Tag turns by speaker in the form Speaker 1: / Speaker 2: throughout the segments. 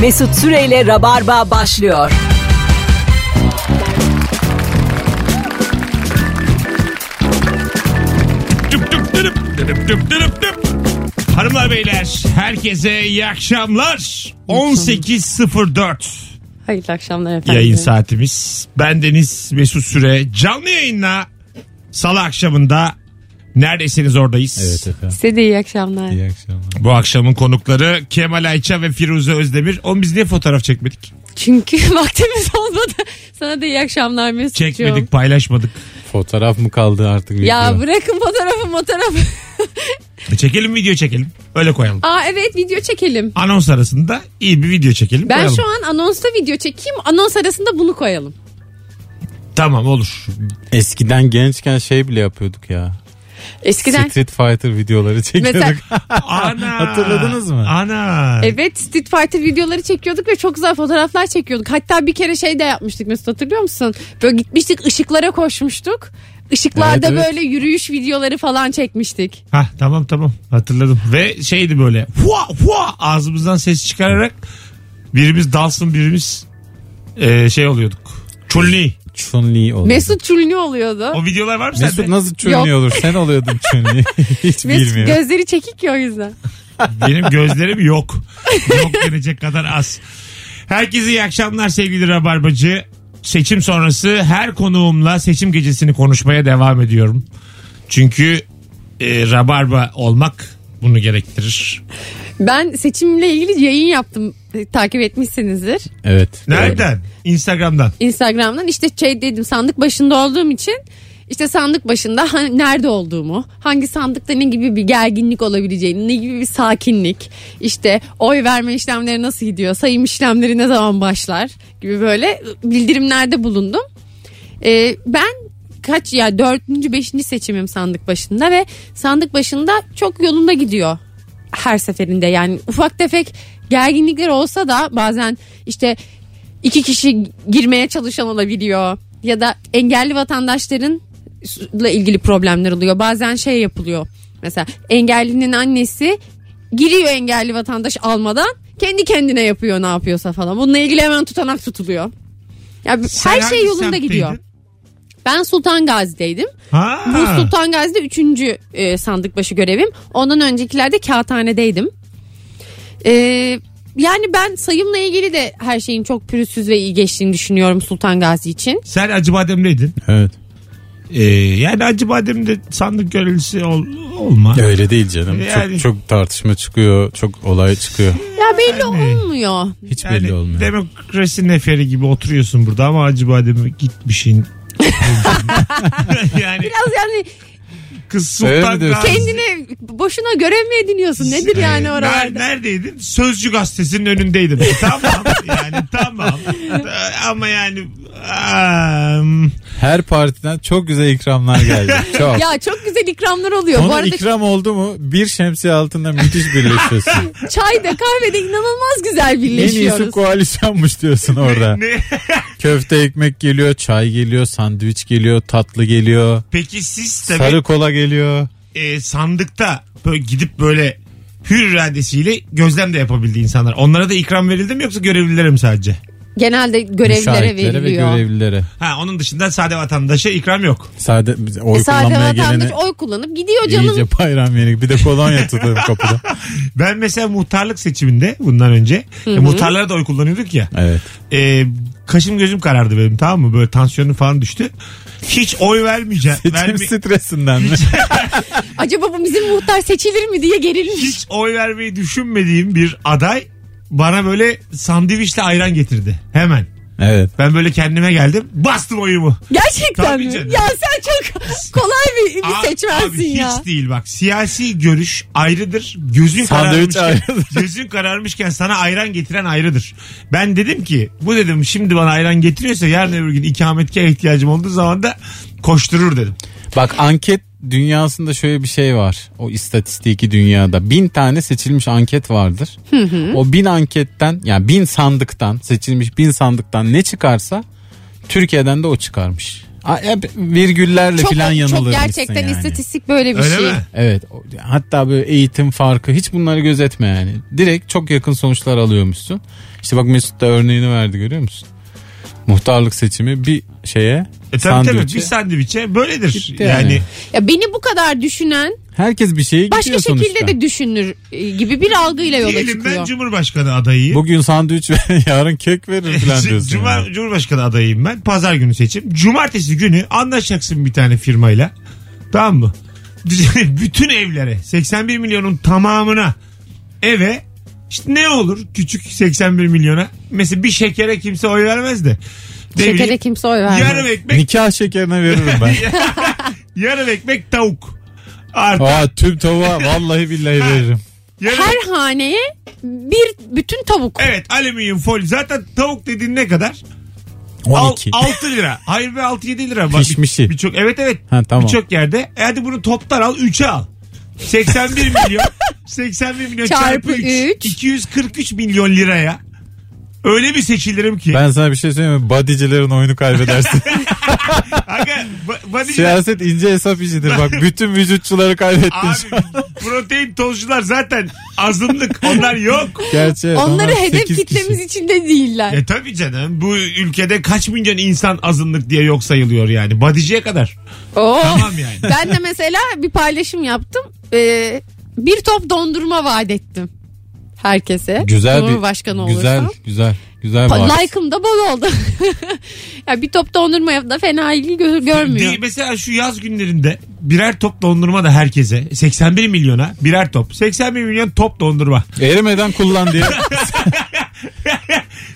Speaker 1: Mesut Süreyle Rabarba başlıyor.
Speaker 2: Düp düp dürüp, dürüp düp dürüp düp. Hanımlar beyler herkese iyi akşamlar. 18.04
Speaker 3: Hayırlı akşamlar efendim.
Speaker 2: yayın saatimiz. Ben Deniz Mesut Süre canlı yayınla salı akşamında neredeyseniz oradayız.
Speaker 4: Evet efendim.
Speaker 3: Size de iyi akşamlar.
Speaker 4: İyi akşamlar.
Speaker 2: Bu akşamın konukları Kemal Ayça ve Firuze Özdemir. Oğlum biz niye fotoğraf çekmedik?
Speaker 3: Çünkü vaktimiz olmadı. Sana da iyi akşamlar Mesut'cum.
Speaker 2: Çekmedik paylaşmadık.
Speaker 4: Fotoğraf mı kaldı artık?
Speaker 3: Ya
Speaker 4: bilmiyorum.
Speaker 3: bırakın fotoğrafı fotoğrafı.
Speaker 2: E çekelim video çekelim öyle koyalım.
Speaker 3: Aa evet video çekelim.
Speaker 2: Anons arasında iyi bir video çekelim
Speaker 3: Ben
Speaker 2: koyalım.
Speaker 3: şu an anonsta video çekeyim. Anons arasında bunu koyalım.
Speaker 2: Tamam olur.
Speaker 4: Eskiden gençken şey bile yapıyorduk ya.
Speaker 3: Eskiden
Speaker 4: Street Fighter videoları çekiyorduk.
Speaker 3: mesela
Speaker 2: Ana.
Speaker 4: Hatırladınız mı?
Speaker 2: Ana.
Speaker 3: evet Street Fighter videoları çekiyorduk ve çok güzel fotoğraflar çekiyorduk. Hatta bir kere şey de yapmıştık Mesut hatırlıyor musun? Böyle gitmiştik ışıklara koşmuştuk. Işıklarda
Speaker 4: Evet, evet.
Speaker 3: böyle yürüyüş videoları falan çekmiştik.
Speaker 2: Ha tamam tamam hatırladım. Ve şeydi böyle hua hua ağzımızdan ses çıkararak birimiz dalsın birimiz eee, şey oluyorduk. Çulli.
Speaker 4: Chun-Li oldu.
Speaker 3: Mesut Çulni oluyordu.
Speaker 2: O videolar var mı
Speaker 4: Mesut
Speaker 2: sende?
Speaker 4: nasıl Chun-Li olur? Sen oluyordun Chun-Li.
Speaker 3: Mesut
Speaker 4: Hiç bilmiyorum.
Speaker 3: gözleri çekik ya o yüzden.
Speaker 2: Benim gözlerim yok. Yok denecek kadar az. Herkese iyi akşamlar sevgili Rabarbacı. Seçim sonrası her konuğumla seçim gecesini konuşmaya devam ediyorum. Çünkü eee, Rabarba olmak bunu gerektirir.
Speaker 3: Ben seçimle ilgili yayın yaptım. E, Takip etmişsinizdir.
Speaker 4: Evet.
Speaker 2: Nereden? Instagram'dan.
Speaker 3: Instagram'dan işte şey dedim sandık başında olduğum için işte sandık başında ha- nerede olduğumu, hangi sandıkta ne gibi bir gerginlik olabileceğini, ne gibi bir sakinlik, işte oy verme işlemleri nasıl gidiyor, sayım işlemleri ne zaman başlar gibi böyle bildirimlerde bulundum. Ee, ben kaç ya dördüncü beşinci seçimim sandık başında ve sandık başında çok yolunda gidiyor her seferinde yani ufak tefek gerginlikler olsa da bazen işte iki kişi girmeye çalışan olabiliyor ya da engelli vatandaşların ile ilgili problemler oluyor bazen şey yapılıyor mesela engellinin annesi giriyor engelli vatandaş almadan kendi kendine yapıyor ne yapıyorsa falan bununla ilgili hemen tutanak tutuluyor ya her
Speaker 2: Sen
Speaker 3: şey
Speaker 2: hangi
Speaker 3: yolunda
Speaker 2: semtteydin?
Speaker 3: gidiyor ben Sultan Gazi'deydim.
Speaker 2: Ha.
Speaker 3: Bu Sultan Gazi'de 3. sandık başı görevim. Ondan öncekilerde kağıthanedeydim. E, yani ben sayımla ilgili de her şeyin çok pürüzsüz ve iyi geçtiğini düşünüyorum Sultan Gazi için.
Speaker 2: Sen Acıbadem'deydin.
Speaker 4: Evet.
Speaker 2: Ee, yani Acıbadem'de sandık görevlisi ol- olma.
Speaker 4: Öyle değil canım.
Speaker 2: Yani-
Speaker 4: Çok çok tartışma çıkıyor, çok olay çıkıyor.
Speaker 3: Ya belli olmuyor.
Speaker 4: Hiç
Speaker 2: Yani
Speaker 4: belli olmuyor.
Speaker 2: Demokrasi neferi gibi oturuyorsun burada ama Acıbadem'e gitmişin. yani
Speaker 3: Biraz yani
Speaker 2: kız
Speaker 4: Öyle
Speaker 2: Sultan
Speaker 4: mi diyorsun?
Speaker 2: Gazi.
Speaker 3: kendine boşuna görev mi ediniyorsun? Nedir
Speaker 4: Ee,
Speaker 3: yani
Speaker 2: Ner-
Speaker 3: oralarda?
Speaker 2: neredeydin? Sözcü gazetesinin önündeydim. tamam yani tamam. Ee, Ama yani am,
Speaker 4: Her partiden çok güzel ikramlar geldi. Çok.
Speaker 3: Ya çok güzel ikramlar oluyor. Bu
Speaker 4: Konu
Speaker 3: arada
Speaker 4: ikram oldu mu bir şemsiye altında müthiş birleşiyorsun.
Speaker 3: çayda kahvede inanılmaz güzel
Speaker 4: en iyisi
Speaker 3: birleşiyoruz.
Speaker 4: koalisyonmuş diyorsun orada.
Speaker 2: ne?
Speaker 4: Köfte ekmek geliyor, çay geliyor, sandviç geliyor, tatlı geliyor,
Speaker 2: Peki siz tabii
Speaker 4: sarı kola geliyor.
Speaker 2: e, sandıkta böyle gidip böyle hür iradesiyle gözlem de yapabildi insanlar. Onlara da ikram verildi mi yoksa görevlilere mi sadece?
Speaker 3: Genelde görevlere
Speaker 4: Müşahitlere ve
Speaker 3: veriliyor.
Speaker 4: görevlilere.
Speaker 2: Ha onun dışında sade vatandaşa ikram yok.
Speaker 4: Sade oy
Speaker 3: Sade
Speaker 4: kullanmaya
Speaker 3: E, vatandaş
Speaker 4: gelene
Speaker 3: oy kullanıp gidiyor canım.
Speaker 4: iyice bayram yeri. Bir de kolonya tutuyorum kapıda.
Speaker 2: Ben mesela muhtarlık seçiminde bundan önce e, muhtarlara da oy kullanıyorduk ya.
Speaker 4: Evet.
Speaker 2: E, kaşım gözüm karardı benim tamam mı? Böyle tansiyonum falan düştü. Hiç oy vermeyeceğim.
Speaker 4: Seçim
Speaker 2: verme-
Speaker 4: stresinden mi?
Speaker 3: Acaba bu bizim muhtar seçilir mi diye gerilmiş.
Speaker 2: hiç oy vermeyi düşünmediğim bir aday bana böyle sandviçle ayran getirdi. Hemen.
Speaker 4: evet.
Speaker 2: Ben böyle kendime geldim. Bastım oyumu.
Speaker 3: Gerçekten
Speaker 2: Tabii
Speaker 3: mi?
Speaker 2: canım.
Speaker 3: Ya sen çok kolay bir, bir
Speaker 2: Abi-
Speaker 3: seçmensin
Speaker 2: abi
Speaker 3: ya.
Speaker 2: Hiç değil bak. Siyasi görüş ayrıdır. Gözün
Speaker 4: Sandviç
Speaker 2: kararmışken,
Speaker 4: ayrıdır.
Speaker 2: gözün kararmışken sana ayran getiren ayrıdır. Ben dedim ki bu dedim şimdi bana ayran getiriyorsa yarın öbür gün ikametgah ihtiyacım olduğu zaman da koşturur dedim.
Speaker 4: Bak anket dünyasında şöyle bir şey var. O istatistiki dünyada bin tane seçilmiş anket vardır. O bin anketten yani bin sandıktan seçilmiş bin sandıktan ne çıkarsa Türkiye'den de o çıkarmış. A- Hep virgüllerle
Speaker 3: Çok,
Speaker 4: falan yanılır.
Speaker 3: çok gerçekten
Speaker 4: yani.
Speaker 3: istatistik böyle bir
Speaker 2: Öyle
Speaker 3: şey.
Speaker 2: mi?
Speaker 4: Evet. o- Hatta böyle eğitim farkı hiç bunları gözetme yani. Direkt çok yakın sonuçlar alıyormuşsun. İşte bak Mesut da örneğini verdi görüyor musun? Muhtarlık seçimi bir şeye
Speaker 2: E tabii tabii
Speaker 4: sandviçe.
Speaker 2: bir sandviçe böyledir.
Speaker 4: Gitti
Speaker 2: yani.
Speaker 4: yani.
Speaker 3: Ya beni bu kadar düşünen
Speaker 4: Herkes bir şeye
Speaker 3: başka
Speaker 4: gidiyor
Speaker 3: şekilde
Speaker 4: sonuçta.
Speaker 3: de düşünür e, gibi bir algıyla yola
Speaker 2: Diyelim ben
Speaker 3: çıkıyor.
Speaker 2: Cumhurbaşkanı adayıyım.
Speaker 4: Bugün sandviç ver yarın kök verir falan diyorsun.
Speaker 2: Cuma,
Speaker 4: yani.
Speaker 2: Cumhurbaşkanı adayıyım ben. Pazar günü seçim. Cumartesi günü anlaşacaksın bir tane firmayla. Tamam mı? Bütün evlere 81 milyonun tamamına eve işte ne olur küçük 81 milyona? Mesela bir şekere kimse oy vermez de. Ne
Speaker 3: Şekere
Speaker 2: bileyim,
Speaker 3: kimse oy
Speaker 2: yarım
Speaker 3: vermez.
Speaker 2: ekmek,
Speaker 4: Nikah şekerine veririm ben.
Speaker 2: yarım ekmek tavuk. Artı
Speaker 4: Aa tüm tavuğa vallahi billahi veririm.
Speaker 2: yarım
Speaker 3: Her haneye bir bütün tavuk.
Speaker 2: Evet alüminyum folyo. Zaten tavuk dediğin ne kadar?
Speaker 4: 12.
Speaker 2: 6 lira. Hayır be 6-7 lira. Bak,
Speaker 4: Pişmişi.
Speaker 2: Birçok evet evet.
Speaker 4: Ha, tamam.
Speaker 2: Birçok yerde. E hadi bunu toptan al 3'e al. 81 milyon. 81 milyon çarpı,
Speaker 3: Çarpı
Speaker 2: 3.
Speaker 3: üç.
Speaker 2: 243 milyon liraya. Öyle bir seçilirim ki.
Speaker 4: Ben sana bir şey söyleyeyim mi? Badicilerin oyunu kaybedersin.
Speaker 2: Aga, ba- body-
Speaker 4: Siyaset ince hesap işidir. Bak bütün vücutçuları kaybettin. şu an.
Speaker 2: Abi protein tozcular zaten azınlık. Onlar yok.
Speaker 4: Gerçi evet,
Speaker 3: Onları
Speaker 4: onlar
Speaker 3: hedef
Speaker 4: sekiz
Speaker 3: kitlemiz
Speaker 4: kişi.
Speaker 3: içinde değiller.
Speaker 2: E tabii canım. Bu ülkede kaç milyon insan azınlık diye yok sayılıyor yani. Badiciye kadar.
Speaker 3: Oo.
Speaker 2: Tamam yani.
Speaker 3: Ben de mesela bir paylaşım yaptım. Ee, bir top dondurma vaat ettim herkese.
Speaker 4: Güzel bir
Speaker 3: Cumhurbaşkanı
Speaker 4: Güzel
Speaker 3: olursam.
Speaker 4: güzel güzel
Speaker 3: Pa-
Speaker 4: bağış.
Speaker 3: Like'ım da bol oldu. ya bir top dondurma da fena ilgi gö- görmüyor.
Speaker 2: Değil, mesela şu yaz günlerinde birer top dondurma da herkese 81 milyona birer top 81 milyon top dondurma.
Speaker 4: Erimeden kullan diye.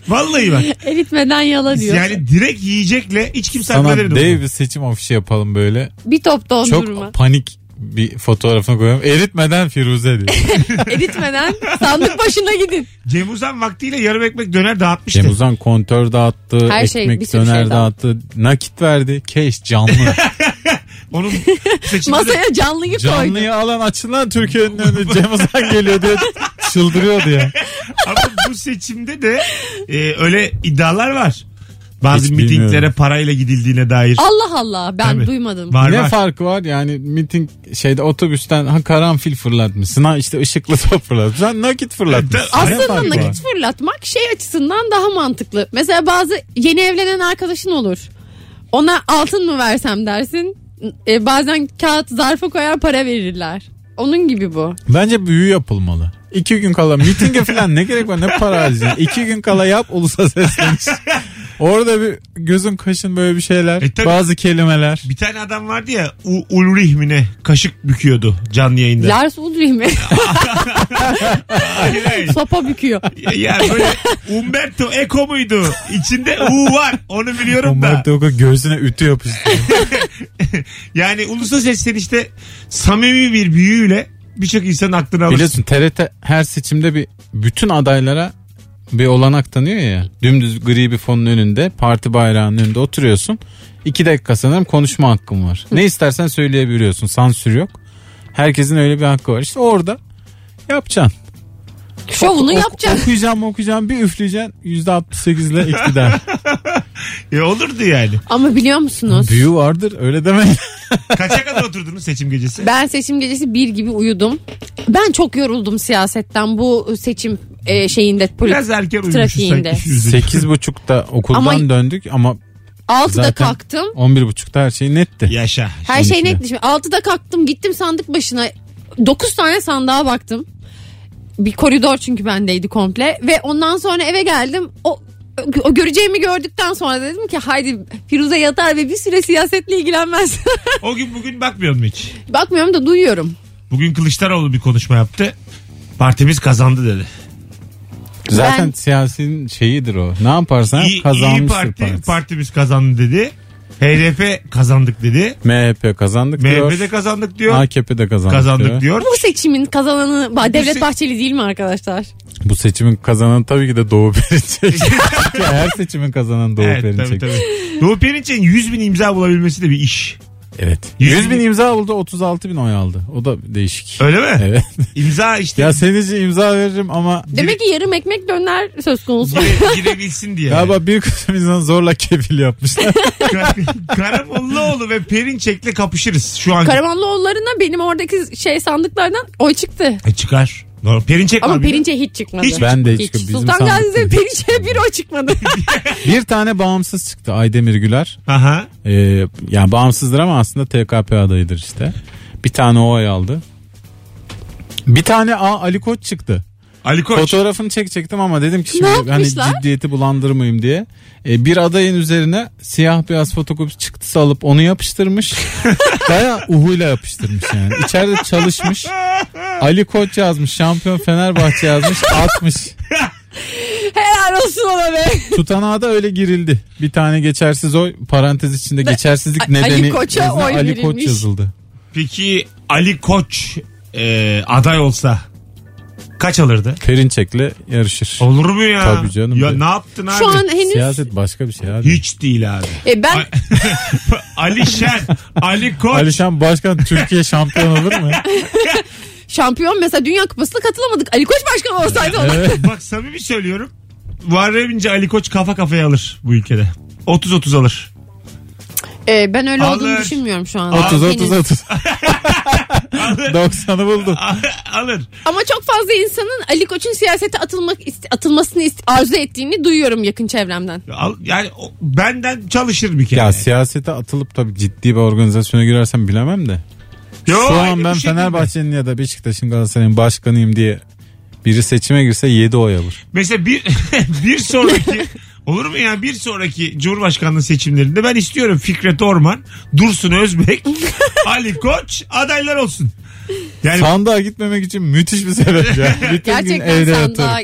Speaker 2: Vallahi bak
Speaker 3: Eritmeden yala diyor.
Speaker 2: yani direkt yiyecekle hiç kimse
Speaker 4: Sana
Speaker 2: hakkında
Speaker 4: dev bir seçim afişi yapalım böyle.
Speaker 3: bir top
Speaker 4: Çok
Speaker 3: dondurma.
Speaker 4: panik bir fotoğrafını koyalım. Eritmeden Firuze diye.
Speaker 3: Eritmeden sandık başına gidin.
Speaker 2: Cem Uzan vaktiyle yarım ekmek döner dağıtmıştı.
Speaker 4: Cem Uzan kontör dağıttı,
Speaker 3: Her şey, bir
Speaker 4: ekmek
Speaker 3: sürü
Speaker 4: döner
Speaker 3: şey
Speaker 4: dağıttı, nakit verdi, keş canlı.
Speaker 2: Onun seçimde de
Speaker 3: Masaya canlıyı koydu.
Speaker 4: Canlıyı alan açılan Türkiye'nin önüne Cem Uzan geliyor diye çıldırıyordu ya.
Speaker 2: ama bu seçimde de e, öyle iddialar var. Bazı
Speaker 4: Hiç
Speaker 2: mitinglere
Speaker 4: bilmiyorum.
Speaker 2: parayla gidildiğine dair.
Speaker 3: Allah Allah ben
Speaker 2: Tabii.
Speaker 3: duymadım.
Speaker 2: Var
Speaker 4: ne
Speaker 2: var.
Speaker 4: farkı var yani miting şeyde otobüsten ha karanfil fırlatmışsın ha işte ışıklı top fırlatmışsın ha nakit fırlatmışsın. Ne
Speaker 3: Aslında
Speaker 4: farkı var?
Speaker 3: nakit fırlatmak şey açısından daha mantıklı. Mesela bazı yeni evlenen arkadaşın olur. Ona altın mı versem dersin. E, bazen kağıt zarfa koyar para verirler. Onun gibi bu.
Speaker 4: Bence büyü yapılmalı. İki gün kala mitinge falan ne gerek var ne para harcayacaksın. İki gün kala yap ulusa sesleniş. Orada bir gözün kaşın böyle bir şeyler.
Speaker 2: E tabii.
Speaker 4: bazı kelimeler.
Speaker 2: Bir tane adam vardı ya U- Ulrich mi ne kaşık büküyordu canlı yayında.
Speaker 3: Lars Ulrich mi?
Speaker 2: Hayır, hayır.
Speaker 3: Sopa büküyor.
Speaker 2: Ya- Ya böyle Umberto Eco muydu? İçinde U var. Onu biliyorum da.
Speaker 4: Onlar da o kadar gözüne ütü yapıştırıyor.
Speaker 2: Yani ulusa seslenişte samimi bir büyüyle birçok insanın aklını alırsın.
Speaker 4: Biliyorsun TRT her seçimde bir bütün adaylara bir olanak tanıyor ya. Dümdüz gri bir fonun önünde parti bayrağının önünde oturuyorsun. İki dakika sanırım konuşma hakkın var. Ne istersen söyleyebiliyorsun. Sansür yok. Herkesin öyle bir hakkı var. İşte orada yapacaksın.
Speaker 3: Şovunu
Speaker 4: Ok-
Speaker 3: yapacak.
Speaker 4: Okuyacağım okuyacağım bir üfleyeceksin. %68 ile iktidar.
Speaker 2: E, olurdu yani.
Speaker 3: Ama biliyor musunuz?
Speaker 4: Büyü vardır öyle demeyin.
Speaker 2: Kaça kadar oturdunuz seçim gecesi?
Speaker 3: Ben seçim gecesi bir gibi uyudum. Ben çok yoruldum siyasetten bu seçim e, şeyinde.
Speaker 2: Biraz erken uyumuşuz
Speaker 3: Trafiğinde.
Speaker 2: sanki. Üzücü.
Speaker 4: 8.30'da okuldan
Speaker 3: Ama-
Speaker 4: döndük ama
Speaker 3: 6'da
Speaker 4: Zaten-
Speaker 3: kalktım.
Speaker 4: 11.30'da her şey netti.
Speaker 2: Yaşa.
Speaker 3: Her şey
Speaker 4: Sonuçta.
Speaker 3: netmiş. 6'da kalktım gittim sandık başına. 9 tane sandığa baktım. Bir koridor çünkü bendeydi komple. Ve ondan sonra eve geldim. O, o göreceğimi gördükten sonra dedim ki haydi Firuze yatar ve bir süre siyasetle ilgilenmez.
Speaker 2: O gün bugün bakmıyorum hiç.
Speaker 3: Bakmıyorum da duyuyorum.
Speaker 2: Bugün Kılıçdaroğlu bir konuşma yaptı. Partimiz kazandı dedi.
Speaker 4: Zaten
Speaker 3: Ben-
Speaker 4: siyasetin şeyidir o. Ne yaparsan
Speaker 2: İyi, iyi
Speaker 4: kazanmıştır
Speaker 2: parti,
Speaker 4: partisi.
Speaker 2: partimiz kazandı dedi. HDP kazandık dedi.
Speaker 4: MHP kazandık diyor.
Speaker 2: MHP de kazandık diyor.
Speaker 4: AKP de kazandık,
Speaker 2: kazandık
Speaker 4: diyor.
Speaker 2: diyor.
Speaker 3: Bu seçimin kazananı Ba- Devlet
Speaker 2: se-
Speaker 3: Bahçeli değil mi arkadaşlar?
Speaker 4: Bu seçimin kazanan tabii ki de Doğu Perinçek. Çünkü Her seçimin kazanan Doğu
Speaker 2: evet,
Speaker 4: Perinçek.
Speaker 2: Tabii, tabii. Doğu Perinçek'in 100 bin imza bulabilmesi de bir iş.
Speaker 4: Evet.
Speaker 2: Yüz
Speaker 4: 100 bin
Speaker 2: bin-
Speaker 4: imza oldu 36 bin oy aldı. O da değişik.
Speaker 2: Öyle mi?
Speaker 4: Evet.
Speaker 2: İmza işte
Speaker 4: ya senizi imza veririm ama
Speaker 3: Demek ki yarım ekmek döner söz konusu.
Speaker 2: gire- girebilsin diye.
Speaker 4: galiba bir kısım insan zorla kefil yapmışlar.
Speaker 2: Ka- Karamollaoğlu ve Perinçek'le kapışırız şu an.
Speaker 3: Karamanlıoğullarına benim oradaki şey sandıklardan oy çıktı.
Speaker 2: E çıkar. Doğru. Perinçek
Speaker 3: Ama
Speaker 2: var bir de.
Speaker 3: Perinçe hiç çıkmadı.
Speaker 2: Hiç-
Speaker 4: ben de hiç.
Speaker 3: Hiç.
Speaker 4: bizim
Speaker 3: Sultan
Speaker 4: sandıkta
Speaker 3: Gazi'de
Speaker 4: değil.
Speaker 3: Perinçe'ye bir oy çıkmadı.
Speaker 4: Bir tane bağımsız çıktı Aydemir Güler.
Speaker 2: Aha.
Speaker 4: Ee, yani bağımsızdır ama aslında TKP adayıdır işte. Bir tane o oy aldı. Bir tane A Ali Koç çıktı.
Speaker 2: Ali Koç.
Speaker 4: Fotoğrafını çekecektim ama dedim ki şimdi
Speaker 3: Ne
Speaker 4: hani
Speaker 3: yapmışlar?
Speaker 4: ciddiyeti bulandırmayayım diye. Ee, bir adayın üzerine siyah beyaz fotokopi çıktısı alıp onu yapıştırmış. Baya uhuyla yapıştırmış yani. İçeride çalışmış. Ali Koç yazmış, şampiyon Fenerbahçe yazmış, atmış.
Speaker 3: Helal olsun ona be.
Speaker 4: Tutanağa da öyle girildi. Bir tane geçersiz oy parantez içinde geçersizlik
Speaker 3: Ali
Speaker 4: nedeni.
Speaker 3: Koç'a
Speaker 4: yazılan
Speaker 3: oy
Speaker 4: Ali Koç
Speaker 3: verilmiş.
Speaker 4: yazıldı.
Speaker 2: Peki Ali Koç e, aday olsa kaç alırdı?
Speaker 4: Perinçek'le yarışır.
Speaker 2: Olur mu ya?
Speaker 4: Tabii canım.
Speaker 2: Ya
Speaker 4: Be-
Speaker 2: ne yaptın abi?
Speaker 3: Şu an henüz
Speaker 4: Siyaset başka bir şey abi.
Speaker 2: Hiç değil abi.
Speaker 3: e, ben
Speaker 2: Ay- Ali Şen, Ali Koç.
Speaker 4: Alişan Başkan Türkiye şampiyon olur mu?
Speaker 3: şampiyon mesela Dünya Kupası'na katılamadık. Ali Koç başkan olsaydı ona.
Speaker 4: Evet.
Speaker 2: Bak samimi söylüyorum. Muharrem İnce Ali Koç kafa kafaya alır bu ülkede. 30-30 alır.
Speaker 3: E, ben öyle
Speaker 2: Alır.
Speaker 3: olduğunu düşünmüyorum şu an.
Speaker 4: 30 30
Speaker 3: Henüz.
Speaker 4: 30. 90'ı buldum.
Speaker 2: alır.
Speaker 3: Ama çok fazla insanın Ali Koç'un siyasete atılmak iste- atılmasını iste- arzu ettiğini duyuyorum yakın çevremden.
Speaker 2: Al- yani o- benden çalışır bir kere.
Speaker 4: Ya siyasete atılıp tabii ciddi bir organizasyona girersem bilemem de.
Speaker 2: Yo,
Speaker 4: Şu
Speaker 2: aynı
Speaker 4: an ben
Speaker 2: bir şey değil mi?
Speaker 4: Fenerbahçe'nin ya da Beşiktaş'ın Galatasaray'ın başkanıyım diye biri seçime girse 7 oy alır.
Speaker 2: Mesela bir, bir sonraki olur mu ya bir sonraki Cumhurbaşkanlığı seçimlerinde ben istiyorum Fikret Orman, Dursun Özbek, Ali Koç adaylar olsun. Yani
Speaker 4: Sandığa gitmemek için müthiş bir sebep ya. Bütün gün
Speaker 3: Gerçekten
Speaker 4: evde yatarım.
Speaker 3: sandığa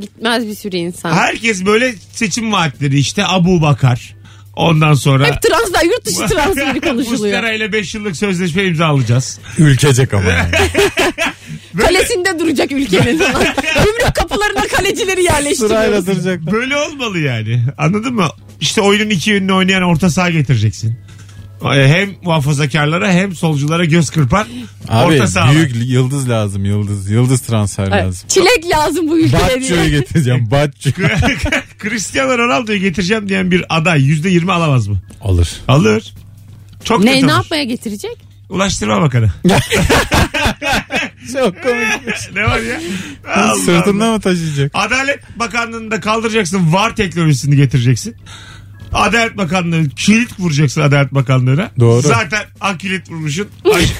Speaker 3: gitmez bir sürü insan.
Speaker 2: herkes böyle seçim vaatleri işte Abu Bakar. Ondan sonra
Speaker 3: Hep transfer, yurt dışı transferi konuşuluyor.
Speaker 2: Mustera ile 5 yıllık sözleşme imzalayacağız.
Speaker 4: Ülkecek ama yani.
Speaker 3: Kalesinde duracak ülkenin. Gümrük kapılarına kalecileri
Speaker 4: Sırayla
Speaker 3: yerleştiriyoruz.
Speaker 4: duracak.
Speaker 2: Böyle olmalı yani. Anladın mı? İşte oyunun iki yönünü oynayan orta saha getireceksin. Hem muhafazakarlara hem solculara göz kırpan
Speaker 4: Abi
Speaker 2: orta saha.
Speaker 4: büyük yıldız lazım yıldız. Yıldız transfer
Speaker 3: Evet.
Speaker 4: lazım.
Speaker 3: Çilek lazım bu ülkeye
Speaker 4: Batço'yu
Speaker 3: diye.
Speaker 4: getireceğim. Batço.
Speaker 2: Cristiano Ronaldo'yu getireceğim diyen bir aday %20 alamaz mı?
Speaker 4: Alır.
Speaker 2: Alır. Çok
Speaker 3: Ne,
Speaker 2: kötü
Speaker 3: ne
Speaker 2: olur.
Speaker 3: yapmaya getirecek?
Speaker 2: Ulaştırma Bakanı.
Speaker 4: Çok komik.
Speaker 2: ne var ya? Allah Allah.
Speaker 4: Sırtında mı taşıyacak?
Speaker 2: Adalet Bakanlığı'nda kaldıracaksın. VAR teknolojisini getireceksin. Adalet Bakanlığı kilit vuracaksın Adalet Bakanlığı'na.
Speaker 4: Doğru.
Speaker 2: Zaten ak kilit vurmuşsun.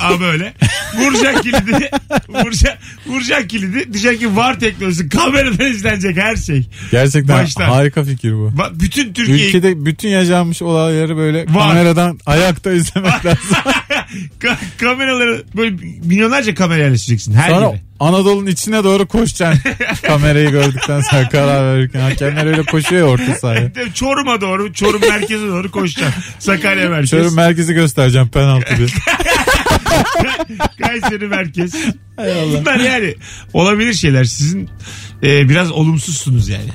Speaker 2: Ama böyle. Vuracak kilidi. vuracak, vuracak kilidi. Diyecek ki VAR teknolojisi kameradan izlenecek her şey.
Speaker 4: Gerçekten
Speaker 2: Baştan.
Speaker 4: harika fikir bu.
Speaker 2: Ba- Bütün Türkiye'yi
Speaker 4: Ülkede bütün yaşanmış olayları böyle kameradan ayakta izlemek lazım.
Speaker 2: Ka- kameraları böyle milyonlarca kamera yerleştireceksin her
Speaker 4: Sonra
Speaker 2: yere.
Speaker 4: Anadolu'nun içine doğru koşacaksın. Kamerayı gördükten sonra karar verirken hakemler öyle koşuyor ya orta sahaya.
Speaker 2: De- Çorum'a doğru, Çorum merkeze doğru koşacaksın. Sakarya merkez,
Speaker 4: Şöyle merkezi göstereceğim penaltı bir.
Speaker 2: Kayseri merkez. Bunlar yani olabilir şeyler. Sizin e, biraz olumsuzsunuz yani.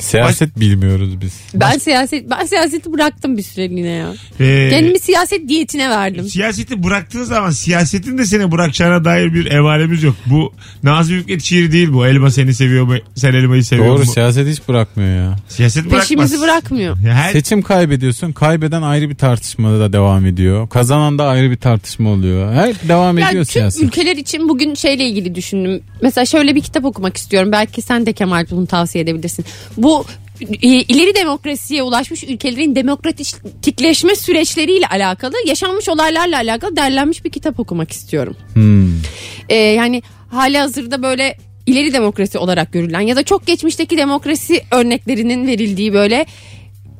Speaker 4: Siyaset bilmiyoruz biz.
Speaker 3: Ben siyaset ben siyaseti bıraktım bir süreliğine ya.
Speaker 2: E,
Speaker 3: Kendimi siyaset diyetine verdim.
Speaker 2: Siyaseti bıraktığın zaman siyasetin de seni bırakacağına dair bir emaremiz yok. Bu Nazım Hikmet şiiri değil bu. Elma seni seviyor mu? Sen elmayı seviyor
Speaker 4: Doğru
Speaker 2: mu?
Speaker 4: siyaset hiç bırakmıyor ya.
Speaker 2: Siyaset bırakmaz.
Speaker 3: Peşimizi bırakmıyor.
Speaker 2: Ya Her,
Speaker 4: Seçim kaybediyorsun. Kaybeden ayrı bir tartışmada da devam ediyor. Kazanan da ayrı bir tartışma oluyor. Her devam ediyor
Speaker 3: Yani tüm
Speaker 4: siyaset.
Speaker 3: ülkeler için bugün şeyle ilgili düşündüm. Mesela şöyle bir kitap okumak istiyorum. Belki sen de Kemal bunu tavsiye edebilirsin. Bu e, ileri demokrasiye ulaşmış ülkelerin demokratikleşme süreçleriyle alakalı, yaşanmış olaylarla alakalı derlenmiş bir kitap okumak istiyorum.
Speaker 4: Hmm.
Speaker 3: Ee, yani hali hazırda böyle ileri demokrasi olarak görülen ya da çok geçmişteki demokrasi örneklerinin verildiği böyle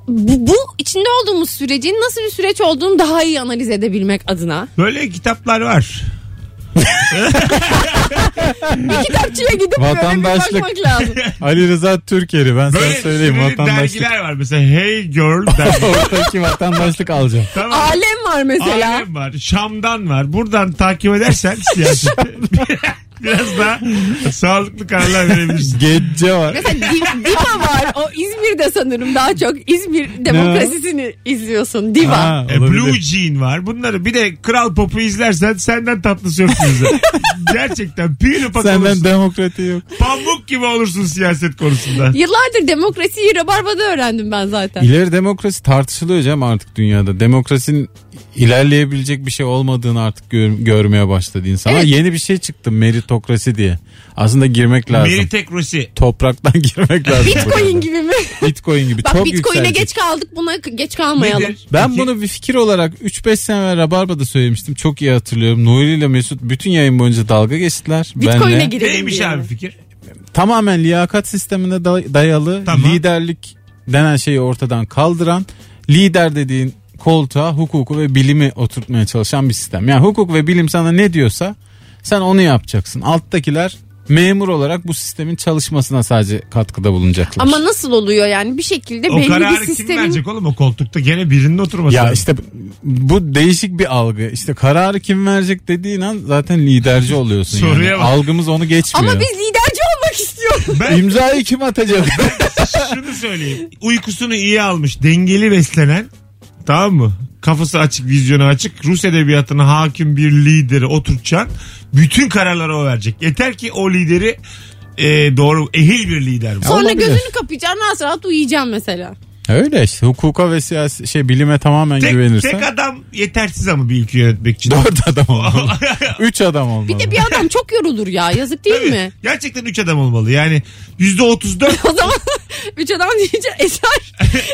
Speaker 3: bu, bu içinde olduğumuz sürecin nasıl bir süreç olduğunu daha iyi analiz edebilmek adına
Speaker 2: böyle kitaplar var.
Speaker 3: bir kitapçıya gidip böyle bir
Speaker 4: Vatandaşlık.
Speaker 3: bakmak lazım.
Speaker 4: Ali Rıza Türkeri ben sana
Speaker 2: Böyle
Speaker 4: söyleyeyim
Speaker 2: süreli
Speaker 4: vatandaşlık.
Speaker 2: dergiler var. Mesela Hey Girl dergisi.
Speaker 4: Ortadaki vatandaşlık alacağım.
Speaker 2: tamam.
Speaker 3: Alem var mesela.
Speaker 2: Alem var. Şam'dan var. Buradan takip edersen siyaseti biraz daha sağlıklı kararlar verebilirsin.
Speaker 4: Gece var.
Speaker 3: Mesela Di- Dima var o İzmir'de sanırım daha çok İzmir demokrasisini izliyorsun. Diva.
Speaker 4: Ha,
Speaker 2: E,
Speaker 4: olabilir.
Speaker 2: Blue Jean var. Bunları bir de Kral Pop'u izlersen senden tatlısı yok size. Gerçekten pir ufak
Speaker 4: Senden
Speaker 2: olursun.
Speaker 4: demokrati yok.
Speaker 2: Pamuk gibi olursun siyaset konusunda.
Speaker 3: Yıllardır demokrasiyi rabarbada öğrendim ben zaten.
Speaker 4: İleri demokrasi tartışılıyor Cem artık dünyada. Demokrasinin ilerleyebilecek bir şey olmadığını artık gör- görmeye başladı insanlar.
Speaker 3: Evet.
Speaker 4: Yeni bir şey çıktı meritokrasi diye. Aslında girmek lazım.
Speaker 2: Meritekrosi.
Speaker 4: Topraktan girmek lazım.
Speaker 3: Bitcoin gibi mi?
Speaker 4: Bitcoin gibi.
Speaker 3: Bak
Speaker 4: Çok
Speaker 3: Bitcoin'e
Speaker 4: yükseldi.
Speaker 3: geç kaldık buna k- geç kalmayalım.
Speaker 2: Nedir?
Speaker 4: Ben
Speaker 2: Peki.
Speaker 4: bunu bir fikir olarak 3-5 sene evvel Rabarba'da söylemiştim. Çok iyi hatırlıyorum. Nuri ile Mesut bütün yayın boyunca dalga geçtiler.
Speaker 3: Bitcoin'e
Speaker 4: Benle.
Speaker 3: girelim
Speaker 2: Neymiş
Speaker 3: diye.
Speaker 2: abi fikir?
Speaker 4: Tamamen liyakat sistemine day- dayalı
Speaker 2: Tamam.
Speaker 4: liderlik denen şeyi ortadan kaldıran lider dediğin koltuğa hukuku ve bilimi oturtmaya çalışan bir sistem. Yani hukuk ve bilim sana ne diyorsa sen onu yapacaksın. Alttakiler memur olarak bu sistemin çalışmasına sadece katkıda bulunacaklar.
Speaker 3: Ama nasıl oluyor yani bir şekilde
Speaker 2: O
Speaker 3: belli
Speaker 2: kararı
Speaker 3: bir
Speaker 2: kim
Speaker 3: sistemin
Speaker 2: verecek oğlum o koltukta? Gene birinin oturması.
Speaker 4: Ya
Speaker 2: lazım.
Speaker 4: işte bu değişik bir algı. İşte kararı kim verecek dediğin an zaten liderci oluyorsun.
Speaker 2: Soruya
Speaker 4: yani.
Speaker 2: bak.
Speaker 4: Algımız onu geçmiyor.
Speaker 3: ama biz liderci olmak istiyoruz.
Speaker 2: ben
Speaker 4: İmzayı kim atacak?
Speaker 2: şunu söyleyeyim. Uykusunu iyi almış, dengeli beslenen, tamam mı? Kafası açık, vizyonu açık. Rus edebiyatına hakim bir lideri oturtacaksın. Bütün kararları o verecek. Yeter ki o lideri e, doğru, ehil bir lider bu.
Speaker 3: Sonra
Speaker 4: olabilir.
Speaker 3: gözünü kapayacaksın rahat rahat uyuyacaksın mesela.
Speaker 4: Öyle işte hukuka ve siyasi şey bilime tamamen
Speaker 2: Tek,
Speaker 4: güvenirsen.
Speaker 2: tek adam yetersiz ama bir ülke yönetmek için.
Speaker 4: Dört adam olmalı. Üç adam olmalı.
Speaker 3: E, Bir de bir adam çok yorulur ya yazık değil mi?
Speaker 2: Gerçekten 3 adam olmalı. Yani %34
Speaker 3: O zaman üç adam diyece Eser,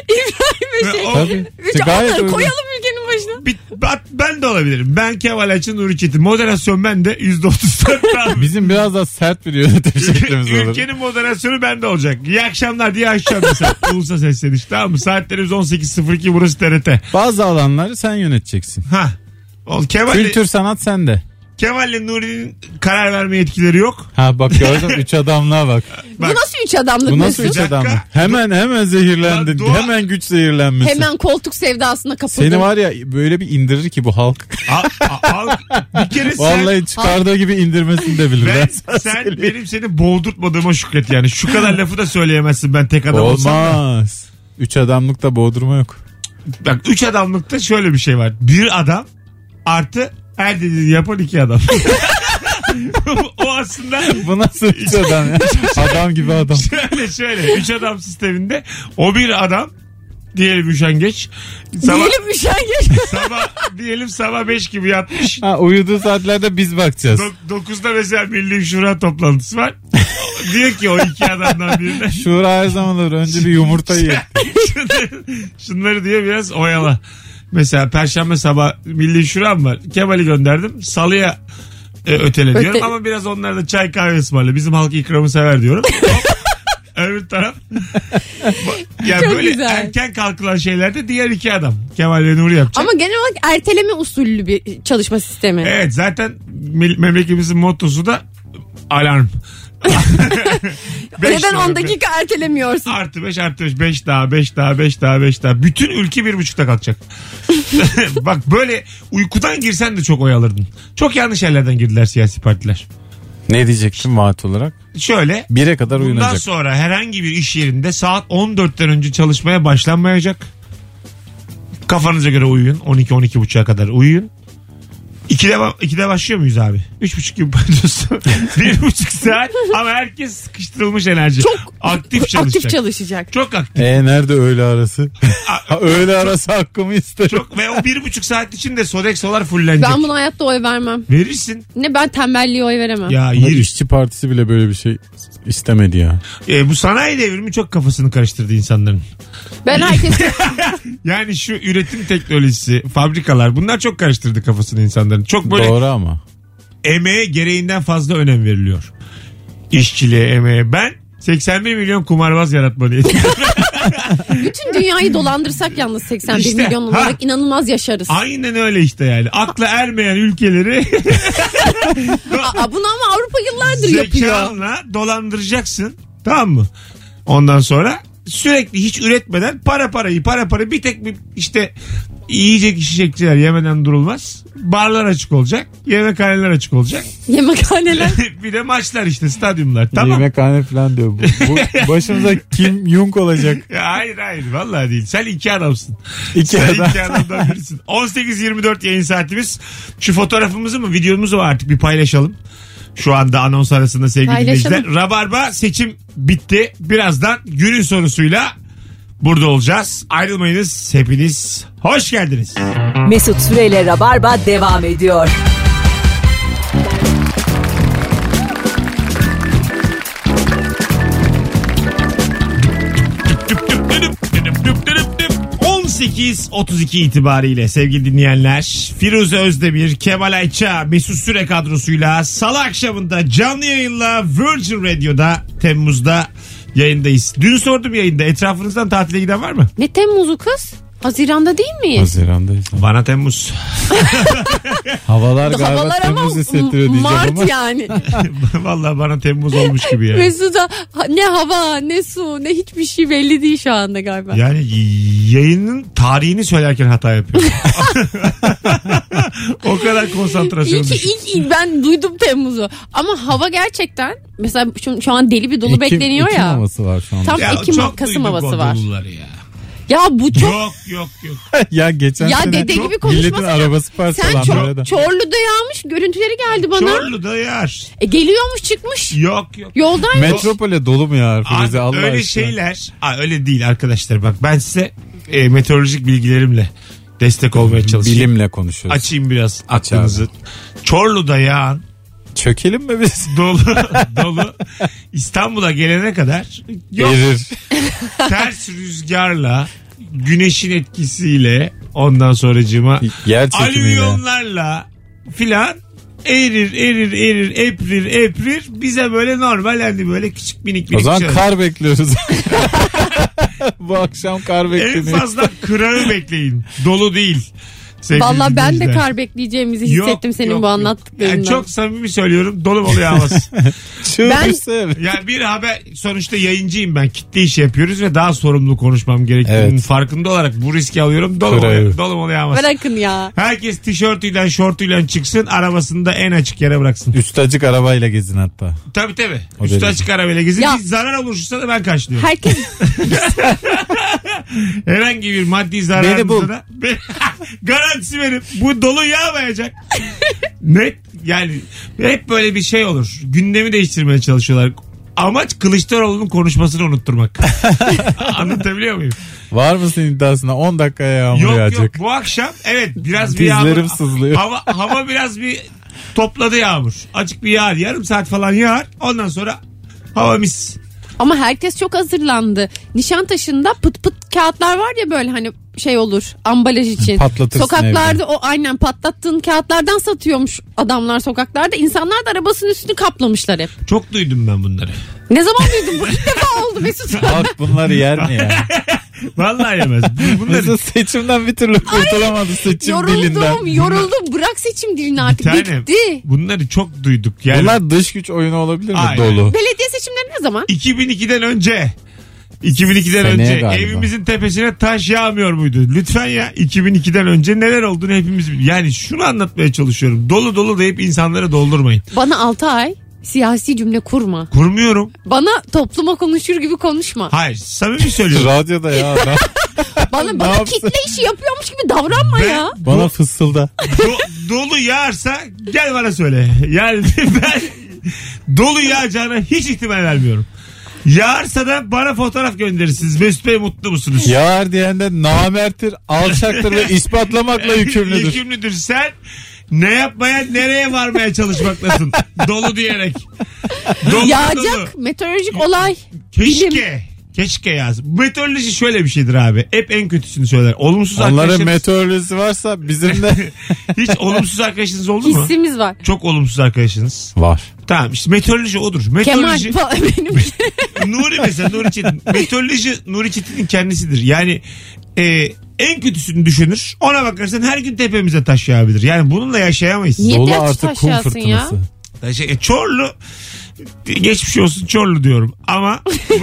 Speaker 3: İbrahim ve şey.
Speaker 2: O- E,
Speaker 4: Tabii.
Speaker 3: Üç
Speaker 4: İşte gayet
Speaker 3: onları
Speaker 4: uygun.
Speaker 3: koyalım ülkenin başına.
Speaker 2: bir- ben- ben de olabilirim. Ben Kemal Ayçin, Nuri Çetin. Moderasyon ben de %34 abi.
Speaker 4: Bizim biraz daha sert bir yönetim şeklimiz olur.
Speaker 2: Ülkenin moderasyonu bende olacak. İyi akşamlar diye akşam mesela. Ulusa sesleniş tamam mı? Saatlerimiz 18.02 burası TRT.
Speaker 4: Bazı alanları sen yöneteceksin.
Speaker 2: Ha. Ol Kemal
Speaker 4: Kültür sanat sende.
Speaker 2: Kemal'le Nuri'nin karar verme yetkileri yok.
Speaker 4: Ha bak gördün üç adamlığa bak.
Speaker 2: Bak.
Speaker 3: Bu nasıl üç adamlık
Speaker 4: Bu nasıl
Speaker 3: Mesut?
Speaker 4: üç
Speaker 2: Dakika.
Speaker 4: adamlık? Hemen hemen
Speaker 2: Lan
Speaker 4: zehirlendin.
Speaker 2: dua-
Speaker 4: Hemen güç zehirlenmesi.
Speaker 3: Hemen koltuk sevdasına kapıldın.
Speaker 4: Seni var ya böyle bir indirir ki bu halk.
Speaker 2: Al, al, bir kere sen
Speaker 4: Vallahi çıkardığı gibi indirmesini de bilir.
Speaker 2: ben,
Speaker 4: Ben
Speaker 2: sen, benim seni boğdurtmadığıma şükret yani. Şu kadar lafı da söyleyemezsin ben tek adam olsam. da.
Speaker 4: Olmaz. Üç adamlıkta boğdurma yok.
Speaker 2: Bak üç adamlıkta şöyle bir şey var. Bir adam artı her dediğini yapan iki adam. o aslında
Speaker 4: Bu nasıl üç adam ya? Adam gibi adam.
Speaker 2: şöyle şöyle. Üç adam sisteminde o bir adam diyelim üşengeç. Sabah,
Speaker 3: Diyelim üşengeç.
Speaker 2: sabah diyelim sabah 5 gibi yatmış.
Speaker 4: Ha, uyuduğu saatlerde biz bakacağız.
Speaker 2: Do- 9'da mesela Milli Şura toplantısı var. Diyor ki o iki adamdan birine
Speaker 4: Şura her zaman olur. Önce bir yumurta ye.
Speaker 2: şunları, şunları diyor biraz oyala. Mesela perşembe sabah Milli Şura'm var. Kemal'i gönderdim. Salıya e, ötele diyorum
Speaker 3: Ötele.
Speaker 2: ama biraz onlar da çay kahve ısmarla. Bizim halk ikramı sever diyorum. Hop. Öbür taraf. Bu- ya
Speaker 3: Çok
Speaker 2: böyle
Speaker 3: güzel.
Speaker 2: erken kalkılan şeylerde diğer iki adam. Kemal ve Nuri yapacak.
Speaker 3: Ama genel olarak erteleme usullü bir çalışma sistemi.
Speaker 2: Evet zaten mil- memleketimizin mottosu da alarm. Beş
Speaker 3: Neden
Speaker 2: sonra
Speaker 3: 10
Speaker 2: be-
Speaker 3: dakika ertelemiyorsun?
Speaker 2: Artı 5 artı 5 5 daha 5 daha 5 daha 5 daha. Bütün ülke bir buçukta kalkacak. Bak böyle uykudan girsen de çok oyalardın. Çok yanlış yerlerden girdiler siyasi partiler.
Speaker 4: ne diyecektim vaat olarak?
Speaker 2: Şöyle
Speaker 4: Bire kadar
Speaker 2: bundan
Speaker 4: uyunacak.
Speaker 2: sonra herhangi bir iş yerinde saat 14'ten önce çalışmaya başlanmayacak. Kafanıza göre uyuyun. 12 12 buçuğa kadar uyuyun. 2'de, ba- 2'de başlıyor muyuz abi? 3,5 gibi başlıyorsun. 1,5 saat ama herkes sıkıştırılmış enerji. Çok aktif çalışacak.
Speaker 3: Aktif çalışacak.
Speaker 2: çok aktif.
Speaker 4: E nerede öğle arası? Ha, öğle arası hakkımı isterim.
Speaker 2: Çok ve o bir buçuk saat içinde Sodexo'lar fullenecek.
Speaker 3: Ben buna hayatta oy vermem.
Speaker 2: Verirsin.
Speaker 3: Ne ben tembelliğe oy veremem.
Speaker 2: Ya
Speaker 4: Bunlar
Speaker 2: yürü.
Speaker 4: İşçi Partisi bile böyle bir şey istemedi ya.
Speaker 2: E, bu sanayi devrimi çok kafasını karıştırdı insanların.
Speaker 3: Ben herkes
Speaker 2: Yani şu üretim teknolojisi, fabrikalar bunlar çok karıştırdı kafasını insanların. Çok böyle
Speaker 4: Doğru ama.
Speaker 2: emeğe gereğinden fazla önem veriliyor. İşçiliğe, emeğe. Ben 81 milyon kumarbaz yaratma diye.
Speaker 3: bütün dünyayı dolandırsak yalnız 81
Speaker 2: İşte,
Speaker 3: milyon
Speaker 2: ha.
Speaker 3: olarak inanılmaz yaşarız.
Speaker 2: Aynen öyle işte yani. Akla ermeyen ülkeleri
Speaker 3: Aa, bunu ama Avrupa yıllardır yapıyor.
Speaker 2: zekanla dolandıracaksın. Tamam mı? Ondan sonra sürekli hiç üretmeden para parayı para para bir tek bir işte yiyecek içecekçiler yemeden durulmaz. Barlar açık olacak. Yemekhaneler açık olacak.
Speaker 3: Yemekhaneler.
Speaker 2: bir de maçlar işte stadyumlar. Tamam.
Speaker 4: Yemekhane falan diyor. Bu, bu başımıza Kim Jong olacak.
Speaker 2: Ya Hayır hayır vallahi değil. Sen iki adamsın.
Speaker 4: İki
Speaker 2: Sen
Speaker 4: adam.
Speaker 2: iki adamdan birisin. 18-24 yayın saatimiz. Şu fotoğrafımızı mı videomuzu mu artık bir paylaşalım. Şu anda anons arasında sevgili
Speaker 3: Paylaşalım.
Speaker 2: dinleyiciler. Rabarba seçim bitti. Birazdan günün sorusuyla burada olacağız. Ayrılmayınız. Hepiniz hoş geldiniz.
Speaker 1: Mesut Süreyle Rabarba devam ediyor.
Speaker 2: Düp düp düdüp, düdüp düp düdüp düp. 18.32 itibariyle sevgili dinleyenler Firuze Özdemir, Kemal Ayça, Mesut Süre kadrosuyla salı akşamında canlı yayınla Virgin Radio'da Temmuz'da yayındayız. Dün sordum yayında etrafınızdan tatile giden var mı?
Speaker 3: ne Temmuz'u kız? Haziranda değil miyiz?
Speaker 4: Haziran'dayız.
Speaker 2: Bana Temmuz.
Speaker 4: Havalar galiba
Speaker 3: Havalar ama
Speaker 4: temmuz hissettiriyor diyeceğim
Speaker 3: Mart
Speaker 4: ama.
Speaker 3: yani.
Speaker 2: Vallahi bana Temmuz olmuş gibi ya.
Speaker 3: Mesut'a ha- ne hava ne su ne hiçbir şey belli değil şu anda galiba.
Speaker 2: Yani y- yayının tarihini söylerken hata yapıyorum. o kadar konsantrasyon
Speaker 3: İyi ki
Speaker 2: düşük.
Speaker 3: ilk, ilk ben duydum Temmuz'u. Ama hava gerçekten mesela şu, şu an deli bir dolu
Speaker 4: Ekim-
Speaker 3: bekleniyor
Speaker 4: Ekim
Speaker 3: ya.
Speaker 4: havası var şu an.
Speaker 3: Tam Ekim
Speaker 2: çok
Speaker 3: Kasım
Speaker 2: duyduk
Speaker 3: havası
Speaker 2: o
Speaker 3: var.
Speaker 2: doluları Ya.
Speaker 3: Ya bu çok
Speaker 2: Yok yok yok.
Speaker 4: ya geçen
Speaker 3: Ya
Speaker 4: sene
Speaker 3: dede
Speaker 4: çok
Speaker 3: gibi konuşmasana.
Speaker 4: milletin arabası
Speaker 3: sen
Speaker 4: parçalandı.
Speaker 3: çor,
Speaker 4: arada.
Speaker 3: Çorlu'da yağmış görüntüleri geldi bana.
Speaker 2: Çorlu'da yağar.
Speaker 3: E, geliyormuş çıkmış.
Speaker 2: Yok yok.
Speaker 3: Yoldan
Speaker 4: Metropole dolu mu ya Firuze
Speaker 2: Abi,
Speaker 4: Allah
Speaker 2: öyle
Speaker 4: aşkına?
Speaker 2: şeyler. Aa, öyle değil arkadaşlar bak ben size e, meteorolojik bilgilerimle destek olmaya çalışayım.
Speaker 4: Bilimle konuşuyoruz.
Speaker 2: Açayım biraz
Speaker 4: Aç
Speaker 2: aklınızı. Çorlu'da yağan
Speaker 4: Çökelim mi biz?
Speaker 2: dolu dolu İstanbul'a gelene kadar yok
Speaker 4: Erir.
Speaker 2: ters rüzgarla güneşin etkisiyle ondan sonracığıma
Speaker 4: Yer çekimiyle.
Speaker 2: alüvyonlarla filan erir erir erir eprir eprir bize böyle normal hani böyle küçük minik minik
Speaker 4: O zaman
Speaker 2: şey-
Speaker 4: kar bekliyoruz. Bu akşam kar
Speaker 2: En
Speaker 4: bekleniyor.
Speaker 2: fazla kırağı bekleyin. Dolu değil. Sevgili
Speaker 3: Valla ben de
Speaker 2: dinleyiciler.
Speaker 3: kar bekleyeceğimizi
Speaker 2: Yok,
Speaker 3: hissettim senin
Speaker 2: yok,
Speaker 3: bu
Speaker 2: yok.
Speaker 3: anlattıklarından.
Speaker 2: Yani çok samimi söylüyorum. Dolu oluyor havası.
Speaker 4: Çığırırsa evet.
Speaker 2: yani bir haber sonuçta yayıncıyım ben. Kitle işi yapıyoruz ve daha sorumlu konuşmam gerektiğinin
Speaker 4: Evet.
Speaker 2: farkında olarak bu riski alıyorum. Dolu
Speaker 4: Kırağı.
Speaker 2: oluyor, dolu oluyor havası.
Speaker 3: Bırakın ya.
Speaker 2: Herkes tişörtüyle şortuyla çıksın arabasını da en açık yere bıraksın.
Speaker 4: Üstacık arabayla gezin hatta.
Speaker 2: Tabii tabii.
Speaker 4: O
Speaker 2: Üstü
Speaker 4: derece.
Speaker 2: açık arabayla gezin.
Speaker 3: Ya.
Speaker 2: Bir zarar oluşursa da ben karşılıyorum.
Speaker 3: Herkes
Speaker 2: Herhangi bir maddi zararınıza
Speaker 4: Beni bul.
Speaker 2: da garantisi verip bu dolu yağmayacak. Net yani hep böyle bir şey olur. Gündemi değiştirmeye çalışıyorlar. Amaç Kılıçdaroğlu'nun konuşmasını unutturmak. Anlatabiliyor muyum?
Speaker 4: Var mısın iddiasına 10 dakikaya yağmur
Speaker 2: yok
Speaker 4: yağacak.
Speaker 2: yok bu akşam evet biraz bir
Speaker 4: Dizlerim
Speaker 2: yağmur.
Speaker 4: sızlıyor.
Speaker 2: Hava, hava biraz bir topladı yağmur. Acık bir yağar yarım saat falan yağar. Ondan sonra hava mis.
Speaker 3: ama herkes çok hazırlandı. Nişantaşı'nda pıt pıt kağıtlar var ya böyle hani şey olur ambalaj için.
Speaker 4: Patlatırsın
Speaker 3: Sokaklarda o aynen patlattığın kağıtlardan satıyormuş adamlar sokaklarda. İnsanlar da arabasının üstünü kaplamışlar hep.
Speaker 2: Çok duydum ben bunları.
Speaker 3: Ne zaman duydun bu? İlk defa oldu Mesut.
Speaker 4: Halk bunları yer mi ya?
Speaker 2: Vallahi yemez. Bu- Bunları
Speaker 4: Mesela seçimden bir türlü kurtulamadı seçim dilinden.
Speaker 3: yoruldum yoruldum. Bırak seçim dilini
Speaker 2: bir
Speaker 3: artık.
Speaker 2: tane-
Speaker 3: Bitti.
Speaker 2: Bunları çok duyduk. Yani
Speaker 4: Bunlar dış güç oyunu olabilir mi?
Speaker 2: Aynen.
Speaker 4: Dolu.
Speaker 3: Belediye seçimleri ne zaman?
Speaker 2: 2002'den önce 2002'den
Speaker 4: Seneye
Speaker 2: önce
Speaker 4: galiba.
Speaker 2: evimizin tepesine taş yağmıyor muydu? Lütfen ya 2002'den önce neler olduğunu hepimiz bil- Yani şunu anlatmaya çalışıyorum. Dolu dolu deyip insanları doldurmayın.
Speaker 3: Bana 6 ay siyasi cümle kurma.
Speaker 2: Kurmuyorum.
Speaker 3: Bana topluma konuşur gibi konuşma.
Speaker 2: Hayır samimi söylüyorum.
Speaker 4: Radyoda ya. adam.
Speaker 3: Bana bana
Speaker 4: yapsın?
Speaker 3: kitle işi yapıyormuş gibi davranma
Speaker 2: Ben-
Speaker 3: ya.
Speaker 4: Bana fısılda.
Speaker 2: Do- dolu yağarsa gel bana söyle. Yani ben dolu yağacağına hiç ihtimal vermiyorum. Yağarsa da bana fotoğraf gönderirsiniz. Mesut Bey mutlu musunuz?
Speaker 4: Yağar diyen de namerttir, alçaktır ve ispatlamakla yükümlüdür.
Speaker 2: Yükümlüdür. Sen ne yapmaya nereye varmaya çalışmaklasın. dolu diyerek. Dolu dolu.
Speaker 3: Yağacak meteorolojik olay.
Speaker 2: Keşke.
Speaker 3: Bilim.
Speaker 2: Keşke yaz. Meteoroloji şöyle bir şeydir abi. Hep en kötüsünü söyler. Olumsuz
Speaker 4: Onların
Speaker 2: arkadaşlarınız.
Speaker 4: meteorolojisi varsa bizim de
Speaker 2: hiç olumsuz arkadaşınız oldu mu?
Speaker 3: Hissimiz var.
Speaker 2: Çok olumsuz arkadaşınız.
Speaker 4: var.
Speaker 2: Tamam işte meteoroloji odur.
Speaker 3: Kemal
Speaker 2: Meteoroloji
Speaker 3: falan benim.
Speaker 2: Nuri mesela Nuri Çetin. Meteoroloji Nuri Çetin'in kendisidir. Yani e, en kötüsünü düşünür. Ona bakarsan her gün tepemize taş yağabilir. Yani bununla yaşayamayız.
Speaker 3: Niye
Speaker 4: Dolu
Speaker 3: ters
Speaker 4: artık kum
Speaker 3: taşlasın ya?
Speaker 4: fırtınası.
Speaker 2: Şey, e, Çorlu geçmiş olsun Çorlu diyorum ama
Speaker 3: ya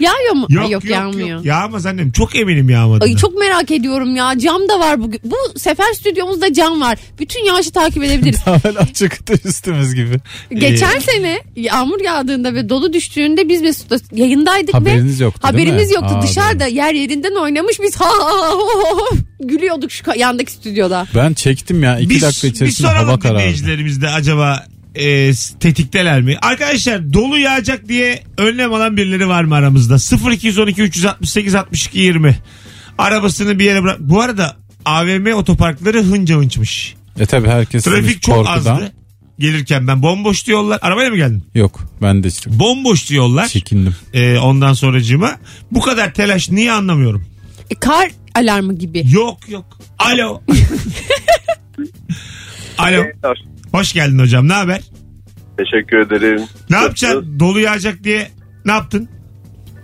Speaker 3: yağıyor mu?
Speaker 2: Yok
Speaker 3: Ay,
Speaker 2: yok, yok
Speaker 3: yağmıyor.
Speaker 2: Yağmaz annem. Çok eminim yağmadı.
Speaker 3: Ay çok merak ediyorum ya. Cam da var bugün. Bu sefer stüdyomuzda cam var. Bütün yağışı takip edebiliriz.
Speaker 4: Tamamen açık üstümüz gibi. Ee,
Speaker 3: Geçen
Speaker 2: Ee,
Speaker 3: sene yağmur yağdığında ve dolu düştüğünde biz Mesut'la yayındaydık ve
Speaker 4: Haberiniz yoktu değil mi?
Speaker 3: haberimiz yoktu.
Speaker 4: Aa,
Speaker 3: Dışarıda yer yerinden oynamış biz ha ha ha, ha, ha, gülüyorduk şu ka- yandaki stüdyoda.
Speaker 4: Ben çektim ya iki
Speaker 2: Bir-
Speaker 4: dakika
Speaker 2: bir
Speaker 4: içerisinde
Speaker 2: soralım
Speaker 4: hava karardı.
Speaker 2: dinleyicilerimiz de acaba e, tetikteler mi? Arkadaşlar dolu yağacak diye önlem alan birileri var mı aramızda? 0212 368 62 20 Arabasını bir yere bırak. Bu arada AVM otoparkları hınca hınçmış.
Speaker 4: E tabi herkes
Speaker 2: Trafik
Speaker 4: sırf
Speaker 2: çok
Speaker 4: korkudan.
Speaker 2: azdı. Gelirken ben bomboştu yollar. Arabayla mı geldin?
Speaker 4: Yok ben de işte
Speaker 2: Bomboştu yollar.
Speaker 4: çekindim.
Speaker 2: E, ondan sonracığıma. Bu kadar telaş niye anlamıyorum.
Speaker 3: E, kar alarmı gibi.
Speaker 2: Yok yok. Alo. Alo.
Speaker 5: Beyler,
Speaker 2: Hoş geldin hocam. Ne haber?
Speaker 5: Teşekkür ederim.
Speaker 2: Ne yapacaksın? Dolu yağacak diye ne yaptın?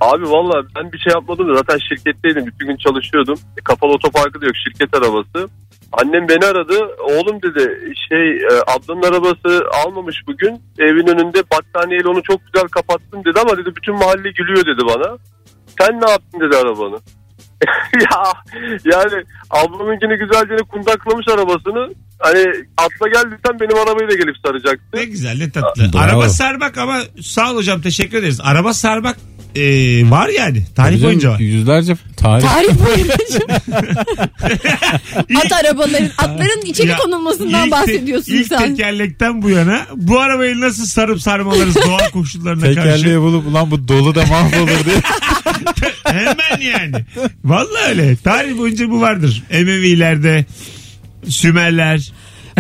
Speaker 5: Abi valla ben bir şey yapmadım da zaten şirketteydim. Bütün gün çalışıyordum. E, kapalı otoparkı da yok şirket arabası. Annem beni aradı. Oğlum dedi şey e, ablanın arabası almamış bugün. Evin önünde battaniyeyle onu çok güzel kapattım dedi ama dedi bütün mahalle gülüyor dedi bana. Sen ne yaptın dedi arabanı. ya yani ablamınkini güzelce de kundaklamış arabasını. Hani atla gel desem benim arabayı da gelip saracaktı.
Speaker 2: Ne güzel ne tatlı.
Speaker 4: Bravo.
Speaker 2: Araba sarmak ama sağ ol hocam teşekkür ederiz. Araba sarmak e, var yani. Tarih
Speaker 4: Bizim
Speaker 2: boyunca var.
Speaker 4: Yüzlerce tarih.
Speaker 3: Tarih boyunca at arabaların, atların içeri
Speaker 2: Ya,
Speaker 3: konulmasından
Speaker 2: ilk te-
Speaker 3: bahsediyorsun
Speaker 2: ilk
Speaker 3: sen.
Speaker 2: tekerlekten bu yana bu arabayı nasıl sarıp sarmalarız doğal koşullarına
Speaker 4: Tekerleği
Speaker 2: karşı.
Speaker 4: bulup ulan bu dolu da mahvolur diye.
Speaker 2: Hemen yani. Vallahi öyle. Tarih boyunca bu vardır. Emevilerde, Sümerler.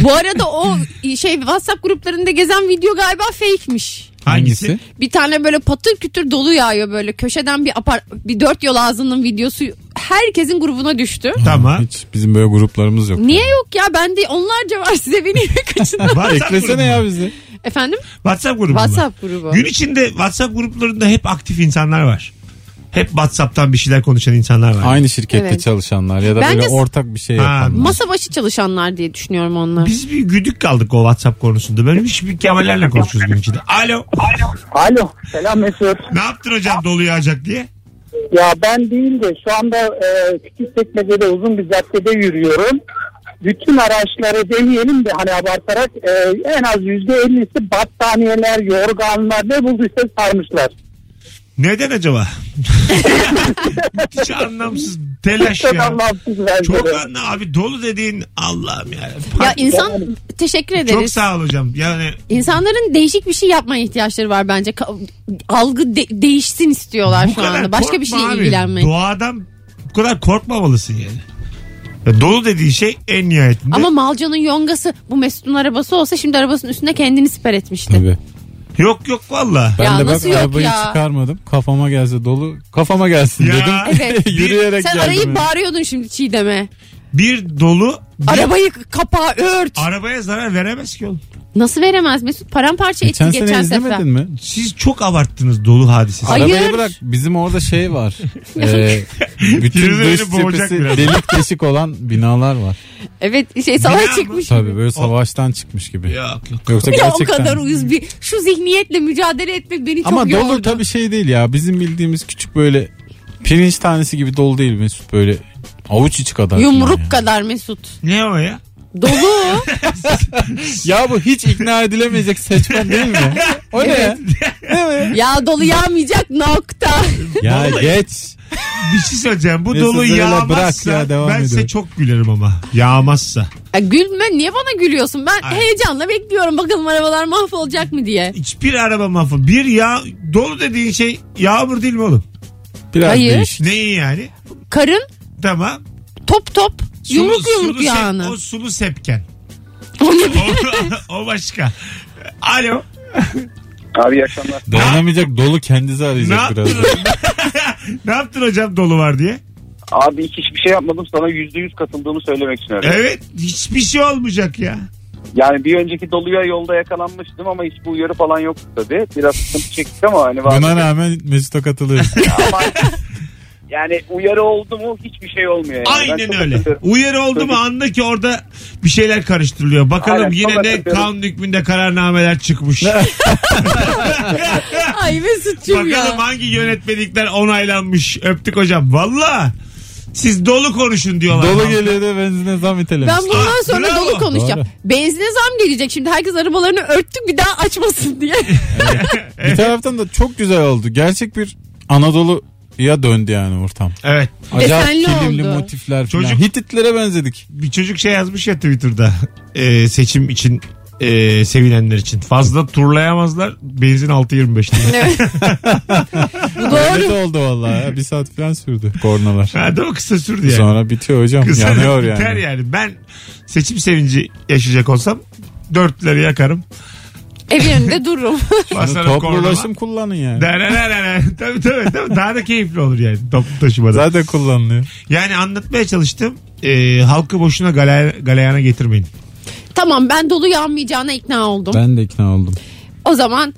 Speaker 3: Bu arada o şey WhatsApp gruplarında gezen video galiba fake'miş.
Speaker 2: Hangisi?
Speaker 3: Bir tane böyle patır kütür dolu yağıyor böyle köşeden bir apar bir dört yol ağzının videosu herkesin grubuna düştü.
Speaker 2: Tamam.
Speaker 4: Hiç bizim böyle gruplarımız yok.
Speaker 3: Niye yok ya bende onlarca var size beni kaçın.
Speaker 2: WhatsApp grubu.
Speaker 4: Eklesene ya bizi.
Speaker 3: Efendim
Speaker 2: WhatsApp grubu. mu?
Speaker 3: WhatsApp grubu.
Speaker 2: Gün içinde WhatsApp gruplarında hep aktif insanlar var. Hep WhatsApp'tan bir şeyler konuşan insanlar var.
Speaker 4: Aynı şirkette
Speaker 3: Evet.
Speaker 4: çalışanlar ya da
Speaker 3: Bence-
Speaker 4: böyle ortak bir şey
Speaker 2: Ha,
Speaker 4: yapanlar.
Speaker 3: Masa başı çalışanlar diye düşünüyorum onlar.
Speaker 2: Biz bir güdük kaldık o WhatsApp konusunda. Böyle hiçbir Kemallerle konuşuyoruz gün içinde. Alo.
Speaker 6: Alo selam Mesut.
Speaker 2: Ne yaptın hocam dolu yağacak diye?
Speaker 6: Ya ben değil de şu anda e, Küçükçekmece'de uzun bir caddede yürüyorum. Bütün araçları demeyelim de hani abartarak e, en az yüzde ellisi battaniyeler, yorganlar ne bulduysa sarmışlar.
Speaker 2: Neden acaba? Hiç anlamsız telaş
Speaker 6: Çok
Speaker 2: ya.
Speaker 6: anlamsız bence
Speaker 2: Çok
Speaker 6: de.
Speaker 2: anla abi dolu dediğin Allah'ım ya.
Speaker 3: Ya insan teşekkür ederiz.
Speaker 2: Çok sağ ol hocam. Yani
Speaker 3: İnsanların değişik bir şey yapmaya ihtiyaçları var bence. Ka- Algı de- değişsin istiyorlar
Speaker 2: bu
Speaker 3: şu
Speaker 2: kadar
Speaker 3: anda. Başka bir
Speaker 2: korkma
Speaker 3: şeyle
Speaker 2: abi.
Speaker 3: ilgilenmek.
Speaker 2: Doğadan bu kadar korkmamalısın yani. Ya dolu dediği şey en nihayetinde.
Speaker 3: Ama Malcan'ın yongası bu Mesut'un arabası olsa şimdi arabasının üstüne kendini siper etmişti.
Speaker 4: Tabii.
Speaker 2: Yok yok valla.
Speaker 4: Ben
Speaker 3: Ya
Speaker 4: de bak
Speaker 3: nasıl yok
Speaker 4: arabayı
Speaker 3: ya?
Speaker 4: çıkarmadım. Kafama gelse dolu. Kafama gelsin
Speaker 2: Ya.
Speaker 4: dedim.
Speaker 3: Evet.
Speaker 4: Yürüyerek
Speaker 3: Sen
Speaker 4: geldim.
Speaker 3: arayıp
Speaker 4: yani.
Speaker 3: bağırıyordun şimdi Çiğdem'e.
Speaker 2: Bir dolu bir
Speaker 3: Arabayı kapağı ört.
Speaker 2: arabaya zarar veremez ki oğlum.
Speaker 3: Nasıl veremez Mesut? Paramparça etti
Speaker 4: Geçen
Speaker 3: geçen,
Speaker 4: sene izlemedin
Speaker 3: sefer.
Speaker 4: mi?
Speaker 2: Siz çok abarttınız dolu hadisesi.
Speaker 3: Ay- Hayır.
Speaker 4: Arabayı bırak. Bizim orada şey var. Ee, bütün
Speaker 2: Birileri
Speaker 4: dış
Speaker 2: boğacak
Speaker 4: cephesi
Speaker 2: biraz.
Speaker 4: delik deşik olan binalar var.
Speaker 3: Evet şey
Speaker 2: Bina mı?
Speaker 3: savaş çıkmış.
Speaker 4: Tabii böyle savaştan çıkmış gibi.
Speaker 2: Yok yok.
Speaker 4: Yoksa
Speaker 3: Bir de o
Speaker 4: gerçekten.
Speaker 3: kadar uyuz bir şu zihniyetle mücadele etmek beni çok
Speaker 4: Ama
Speaker 3: yordu.
Speaker 4: dolu tabii şey değil ya. Bizim bildiğimiz küçük böyle pirinç tanesi gibi dolu değil Mesut böyle avuç içi kadar. falan
Speaker 3: Yumruk
Speaker 4: ya.
Speaker 3: kadar Mesut.
Speaker 2: Ne o ya?
Speaker 3: Dolu.
Speaker 4: Ya bu hiç ikna edilemeyecek seçmen değil mi? O ne ya?
Speaker 3: ya dolu yağmayacak nokta.
Speaker 4: Ya geç.
Speaker 2: Bir şey söyleyeceğim. Bu
Speaker 4: Neyse,
Speaker 2: dolu
Speaker 4: böyle
Speaker 2: yağmazsa
Speaker 4: bırak ya, devam
Speaker 2: ben size
Speaker 4: edelim.
Speaker 2: çok gülerim ama. Yağmazsa.
Speaker 3: Ya gülme niye bana gülüyorsun? Ben
Speaker 2: Ay.
Speaker 3: heyecanla bekliyorum bakalım arabalar mahvolacak mı diye.
Speaker 2: Hiçbir araba mahvol. Bir yağ dolu dediğin şey yağmur değil mi oğlum?
Speaker 4: Biraz
Speaker 3: Hayır.
Speaker 4: değişik.
Speaker 2: Neyi yani?
Speaker 3: Karın
Speaker 2: Tamam.
Speaker 3: top top
Speaker 2: Sulu-
Speaker 3: yumruk yumruk
Speaker 2: sulu
Speaker 4: şey,
Speaker 2: sep-
Speaker 3: yağını.
Speaker 2: o sulu sepken.
Speaker 3: O ne
Speaker 2: O, o başka. Alo.
Speaker 6: Abi akşamlar.
Speaker 4: Dayanamayacak dolu kendisi
Speaker 2: Ne
Speaker 4: arayacak
Speaker 2: yaptın?
Speaker 4: biraz.
Speaker 2: ne yaptın hocam dolu var diye?
Speaker 6: Abi hiçbir şey yapmadım sana yüzde yüz katıldığımı söylemek için
Speaker 2: Evet. Hiçbir şey olmayacak ya.
Speaker 6: Yani bir önceki doluya yolda yakalanmıştım ama hiç bu uyarı falan yoktu tabii. Biraz sıkıntı çektik ama hani
Speaker 4: Buna rağmen Mesut'a katılıyor.
Speaker 6: Ama yani uyarı oldu mu hiçbir şey olmuyor. Yani. Ben
Speaker 2: Aynen
Speaker 6: çok
Speaker 2: öyle.
Speaker 6: üzülüyorum.
Speaker 2: Uyarı oldu mu anla ki orada bir şeyler karıştırılıyor. Bakalım
Speaker 6: Aynen,
Speaker 2: yine
Speaker 6: çok
Speaker 2: ne
Speaker 6: hatırlıyorum.
Speaker 2: kanun hükmünde kararnameler çıkmış.
Speaker 3: Ay Mesut'cum
Speaker 2: Bakalım
Speaker 3: ya.
Speaker 2: hangi yönetmelikler onaylanmış. Öptük hocam. Valla siz dolu konuşun diyorlar.
Speaker 4: Dolu geliyor da benzine zam itelemiş.
Speaker 3: Ben bundan
Speaker 2: Ah,
Speaker 3: sonra
Speaker 2: bravo.
Speaker 3: dolu konuşacağım.
Speaker 4: Doğru.
Speaker 3: Benzine zam gelecek. Şimdi herkes arabalarını örttük bir daha açmasın diye.
Speaker 4: Bir taraftan da çok güzel oldu. Gerçek bir Anadolu'ya döndü yani ortam.
Speaker 2: Evet.
Speaker 4: Acayip
Speaker 3: Desenli
Speaker 4: kilimli
Speaker 3: oldu.
Speaker 4: motifler falan.
Speaker 2: Çocuk-
Speaker 4: Hititlere benzedik.
Speaker 2: Bir çocuk şey yazmış ya Twitter'da. Ee, seçim için ee, sevilenler için. Fazla turlayamazlar. Benzin 6.25 diye.
Speaker 3: Bu
Speaker 4: Öyle de
Speaker 3: doğru.
Speaker 4: oldu vallahi. ya. Bir saat falan sürdü kornalar.
Speaker 2: Ha, değil mi? Kısa sürdü yani.
Speaker 4: Sonra bitiyor hocam.
Speaker 2: Kısa
Speaker 4: Yanıyor
Speaker 2: biter
Speaker 4: yani.
Speaker 2: yani. Ben seçim sevinci yaşayacak olsam dörtleri yakarım.
Speaker 3: Evin önünde dururum.
Speaker 4: Bunu
Speaker 2: Basarım
Speaker 4: Toplu
Speaker 2: kornama.
Speaker 4: ulaşım kullanın yani.
Speaker 2: Derererere. Tabii tabii. tabii. Daha da keyifli olur yani toplu taşımada.
Speaker 4: Zaten kullanılıyor.
Speaker 2: Yani anlatmaya çalıştım. Ee, halkı boşuna galaya, galeyana getirmeyin.
Speaker 3: tamam ben dolu yanmayacağına ikna oldum.
Speaker 4: Ben de ikna oldum.
Speaker 3: O zaman